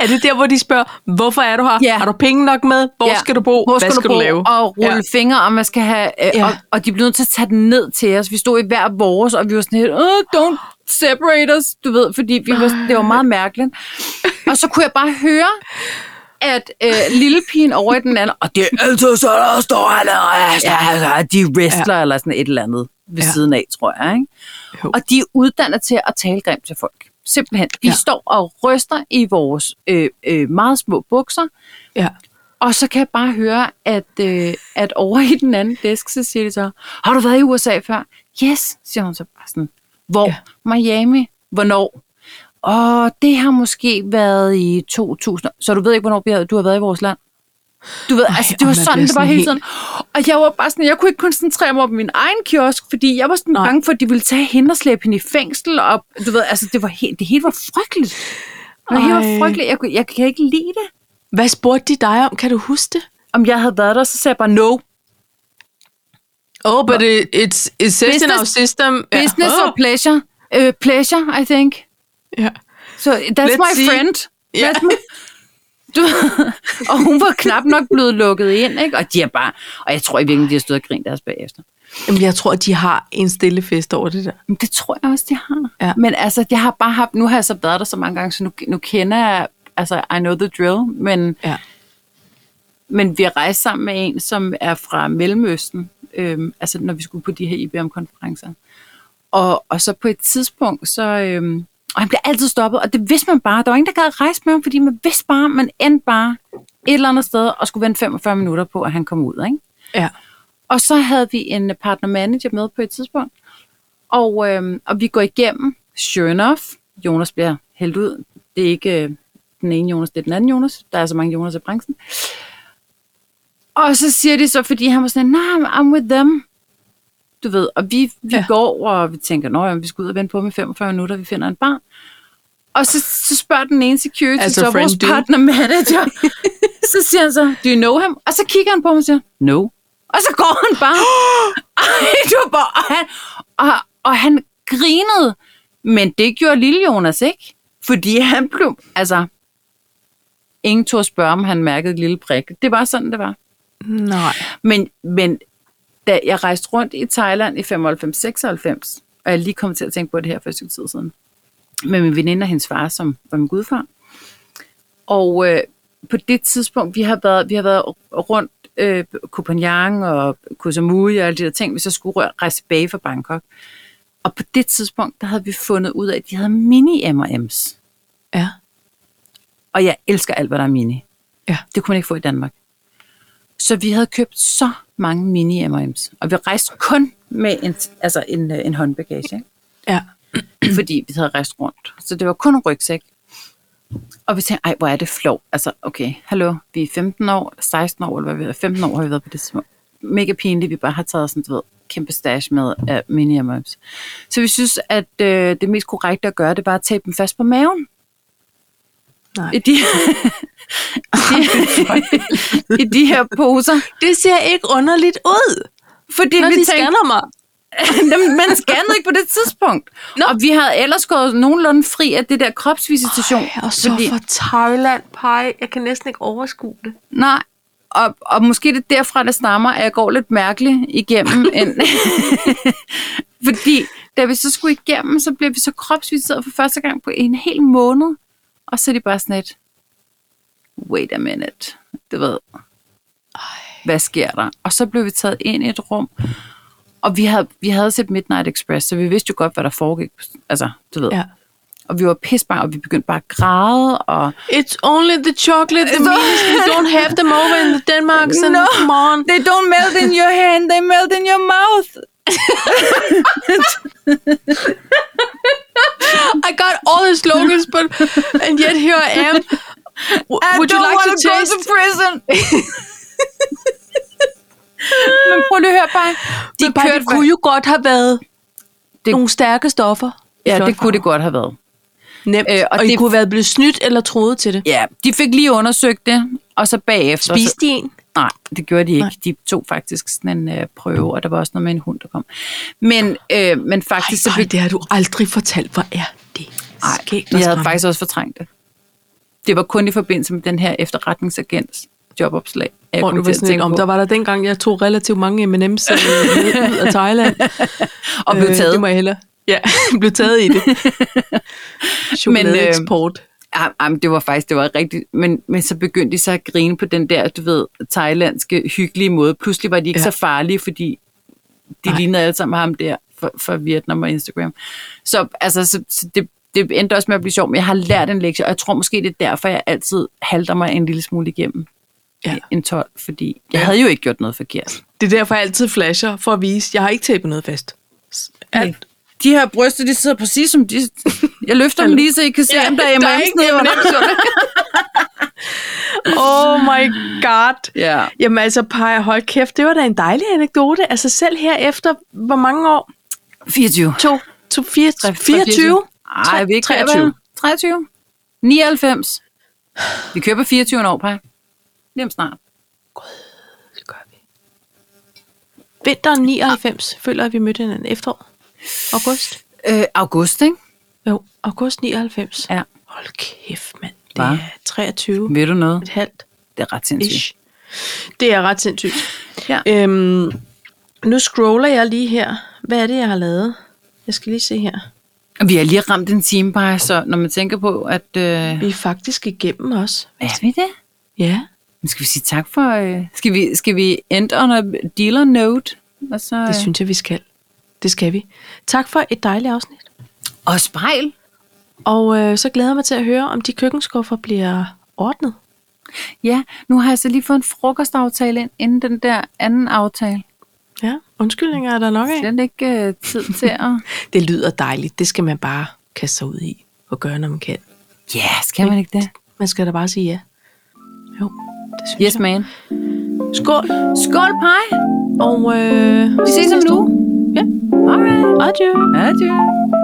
Er det der, hvor de spørger, hvorfor er du her?
Ja.
Har du penge nok med? Hvor
ja,
skal du bo?
Hvor
Hvad skal du,
bo?
lave?
Og rulle ja. fingre, og man skal have, øh,
Ja.
ja. og, og de blev nødt til at tage den ned til os. Vi stod i hver vores, og vi var sådan helt, oh, don't separate us, du ved, fordi vi var, det var meget mærkeligt. Og så kunne jeg bare høre, at øh, lille pigen over i den anden, og det er altid så, der står han, og ja, de er wrestler ja. eller sådan et eller andet ved
Ja.
ja. siden af, tror jeg. Ikke?
Jo.
Og de er uddannet til at tale grimt til folk. Simpelthen. Vi
Ja.
ja. står og ryster i vores øh, øh, meget små bukser,
Ja.
og så kan jeg bare høre, at, øh, at over i den anden disk, så siger de så, har du været i USA før? Yes, siger hun så bare sådan. Hvor?
Ja.
Ja. Miami? Hvornår? Og det har måske været i 2000. Så du ved ikke, hvornår vi har- du har været i vores land? Du ved,
Ej,
Ej, altså det
og
var
man
sådan,
bliver
det var
sådan
hele
helt-
tiden. Og jeg var bare sådan, jeg kunne ikke koncentrere mig om min egen kiosk, fordi jeg var sådan
Nej.
bange for, at de ville tage hende og slæbe hende i fængsel. Og du ved, altså det, var helt, det hele var frygteligt. Det var
Ej.
helt frygteligt. Jeg, kunne, jeg kan ikke lide det.
Hvad spurgte de dig om? Kan du huske det?
Om jeg havde været der, så sagde jeg bare, no,
Oh, but it, it's, it says
in our
system. Oh.
business or pleasure. Uh, pleasure, I think.
Ja.
Så that's
Let's
my
see.
friend.
Ja.
That's my... Du, og hun var knap nok blevet lukket ind, ikke? Og de er bare... Og jeg tror i virkeligheden, de har stået og grint deres bagefter.
Jamen, jeg tror, de har en stille fest over det der.
Men det tror jeg også, de har.
Ja.
Men altså, jeg har bare haft... Nu har jeg så været der så mange gange, så nu, nu kender jeg... Altså, I know the drill, men,
Ja.
men vi har rejst sammen med en, som er fra Mellemøsten. Øhm, altså, når vi skulle på de her IBM-konferencer. Og, og så på et tidspunkt, så... Øhm, og han blev altid stoppet, og det vidste man bare. Der var ingen, der gad at rejse med ham, fordi man vidste bare, man endte bare et eller andet sted og skulle vente 45 minutter på, at han kom ud. Ikke?
ja.
Og så havde vi en partner manager med på et tidspunkt, og, øhm, og vi går igennem, sure enough, Jonas bliver hældt ud. Det er ikke øh, den ene Jonas, det er den anden Jonas. Der er så mange Jonas i branchen. Og så siger de så, fordi han var sådan, nej, nah, I'm with them. Du ved, og vi, vi
Ja.
ja. går, og vi tænker, nå, jamen, vi skal ud og vente på dem i 45 minutter, vi finder en bar. Og så, så spørger den ene security,
Altså,
altså, så
friend
vores
dude.
partner manager. så siger han så, do you know him? Og så kigger han på mig og siger, no. Og så går han bare. Ej, det var bare... Og han, og, og han grinede, men det gjorde lille Jonas ikke. Fordi han blev... Altså, ingen tog at spørge, om han mærkede et lille prik. Det var sådan, det var.
Nej.
Men, men da jeg rejste rundt i Thailand i 95-96, og jeg lige kom til at tænke på det her for et stykke tid siden, med min veninde og hendes far, som var min gudfar. Og øh, på det tidspunkt, vi har været, vi har været rundt øh, Copenhagen og Koh Samui og alle de der ting, vi så skulle rø- rejse tilbage fra Bangkok. Og på det tidspunkt, der havde vi fundet ud af, at de havde mini-M&M's.
Ja.
Og jeg elsker alt, hvad der er mini.
Ja.
Det kunne man ikke få i Danmark. Så vi havde købt så mange mini M&M's, og vi rejste kun med en, altså en, øh, en håndbagage,
Ja.
ikke? fordi vi havde rejst rundt. Så det var kun en rygsæk. Og vi tænkte, ej, hvor er det flov. Altså, okay, hallo, vi er 15 år, 16 år, eller hvad vi er, 15 år har vi været på det tidspunkt. Mega pinligt, vi bare har taget sådan, du ved, kæmpe stash med af mini M&M's. Så vi synes, at øh, det mest korrekte at gøre, det var at tape dem fast på maven.
Nej.
I de, i de her poser.
Det ser ikke underligt ud,
Fordi
når
vi
de
tænkte,
scanner mig.
Jamen, man scannede ikke på det tidspunkt.
Nå.
No. Og vi havde ellers gået nogenlunde fri af det der kropsvisitation.
Og så fordi... for Thailand, pej. Jeg kan næsten ikke overskue det.
Nej, og, og måske det er derfra, det stammer, at jeg går lidt mærkeligt igennem. end, fordi da vi så skulle igennem, så blev vi så kropsvisiteret for første gang på en hel måned. Og så er de bare sådan et, wait a minute, du ved, hvad sker der? Og så blev vi taget ind i et rum, og vi havde, vi havde set Midnight Express, så vi vidste jo godt, hvad der foregik. Altså, du ved. Ja.
Ja.
Og vi var pissbange, og vi begyndte bare at græde, og
It's only the chocolate that means we don't have them over in Denmark. So no. come on.
They don't melt in your hand, they melt in your mouth.
I got all the slogans, but and yet here I am. W- Would you like to taste?
prison. Men prøv lige at høre bare.
De
De kørte
det kunne jo godt have været det...
Det-
nogle stærke stoffer.
Ja, det kunne det godt have været.
Nemt. Øh,
Øh,
og,
og
og det... I
det-
kunne have været blevet snydt eller troet til det.
Ja, de fik lige undersøgt det, og så bagefter... så-
Spiste de en?
Nej, det gjorde de ikke.
Nej.
Nej. De tog faktisk sådan en øh, prøve, og der var også noget med en hund, der kom. Men, øh, men
Ej,
faktisk... så
så
blev-
det har du aldrig fortalt. Hvor er det
Nej,
skægt og
jeg havde
skræmmende.
faktisk også fortrængt det. Det var kun i forbindelse med den her efterretningsagents jobopslag. at Jeg
Hvor du
kom til
var
at
sådan
tænke
ikke om.
på.
Der var der dengang, jeg tog relativt mange M&M's øh, med ud af Thailand.
og blev
Øh,
taget.
det må jeg hellere. Ja, blev taget i det. øh, Chokoladeeksport.
Ja, jamen, det var faktisk, det var rigtigt. Men, men så begyndte de så at grine på den der, du ved, thailandske hyggelige måde. Pludselig var de ikke
Ja.
ja. så farlige, fordi de
Nej.
Nej. lignede alle sammen ham der for, for Vietnam og Instagram. Så, altså, så, så det, det endte også med at blive sjovt, men jeg har lært en lektie, og jeg tror måske, det er derfor, jeg altid halter mig en lille smule igennem
Ja.
ja. en 12, fordi jeg
Ja.
ja. havde jo ikke gjort noget forkert.
Det er derfor, jeg altid flasher for at vise, jeg har ikke tabet noget fast.
Nej.
Alt,
de her bryster, de sidder præcis som de... Jeg løfter dem lige, så I kan se, om der er
der er ikke
M&M's nede under.
Oh my god.
Ja.
Jamen altså, Paj, hold kæft, det var da en dejlig anekdote. Altså selv her efter, hvor mange år?
24.
To, to, fire,
Tre-
24?
Nej, vi er ikke 23. 23. 99. Vi køber 24 år, Paj. Lige om snart.
Det gør vi. Vinteren 99 føler, at vi mødte hinanden efterår. August?
Øh, august, ikke?
Jo, august 99.
Ja.
Hold kæft, mand. Det
Hva?
er 23
Ved du noget?
et halvt
Det er ret sindssygt.
ish. Det er ret sindssygt.
Ja.
Øhm, nu scroller jeg lige her. Hvad er det, jeg har lavet? Jeg skal lige se her.
Vi har lige ramt en time, Paj, så når man tænker på, at... Øh,
Vi er faktisk igennem os.
er vi det?
Ja,
Men skal vi sige tak for... Øh, skal, vi, skal vi end on a dealer note? Og så,
det synes jeg, vi skal. Det skal vi. Tak for et dejligt afsnit.
øh, og spejl.
Og øh, så glæder jeg mig til at høre, om de køkkenskuffer bliver ordnet.
Ja, nu har jeg så lige fået en frokostaftale ind, inden den der anden aftale.
Ja, undskyldninger er der nok af.
Den er ikke øh, tid til at...
Det lyder dejligt. Det skal man bare kaste sig ud i og gøre, når man kan.
Ja, skal man ikke det?
Man skal da bare sige ja. Jo, det synes
Yes,
jeg.
man.
Skål.
Skål, Paj.
Og øh,
Vi ses om
næste
nu.
uge. Ja,
Alright.
adieu.
Adieu.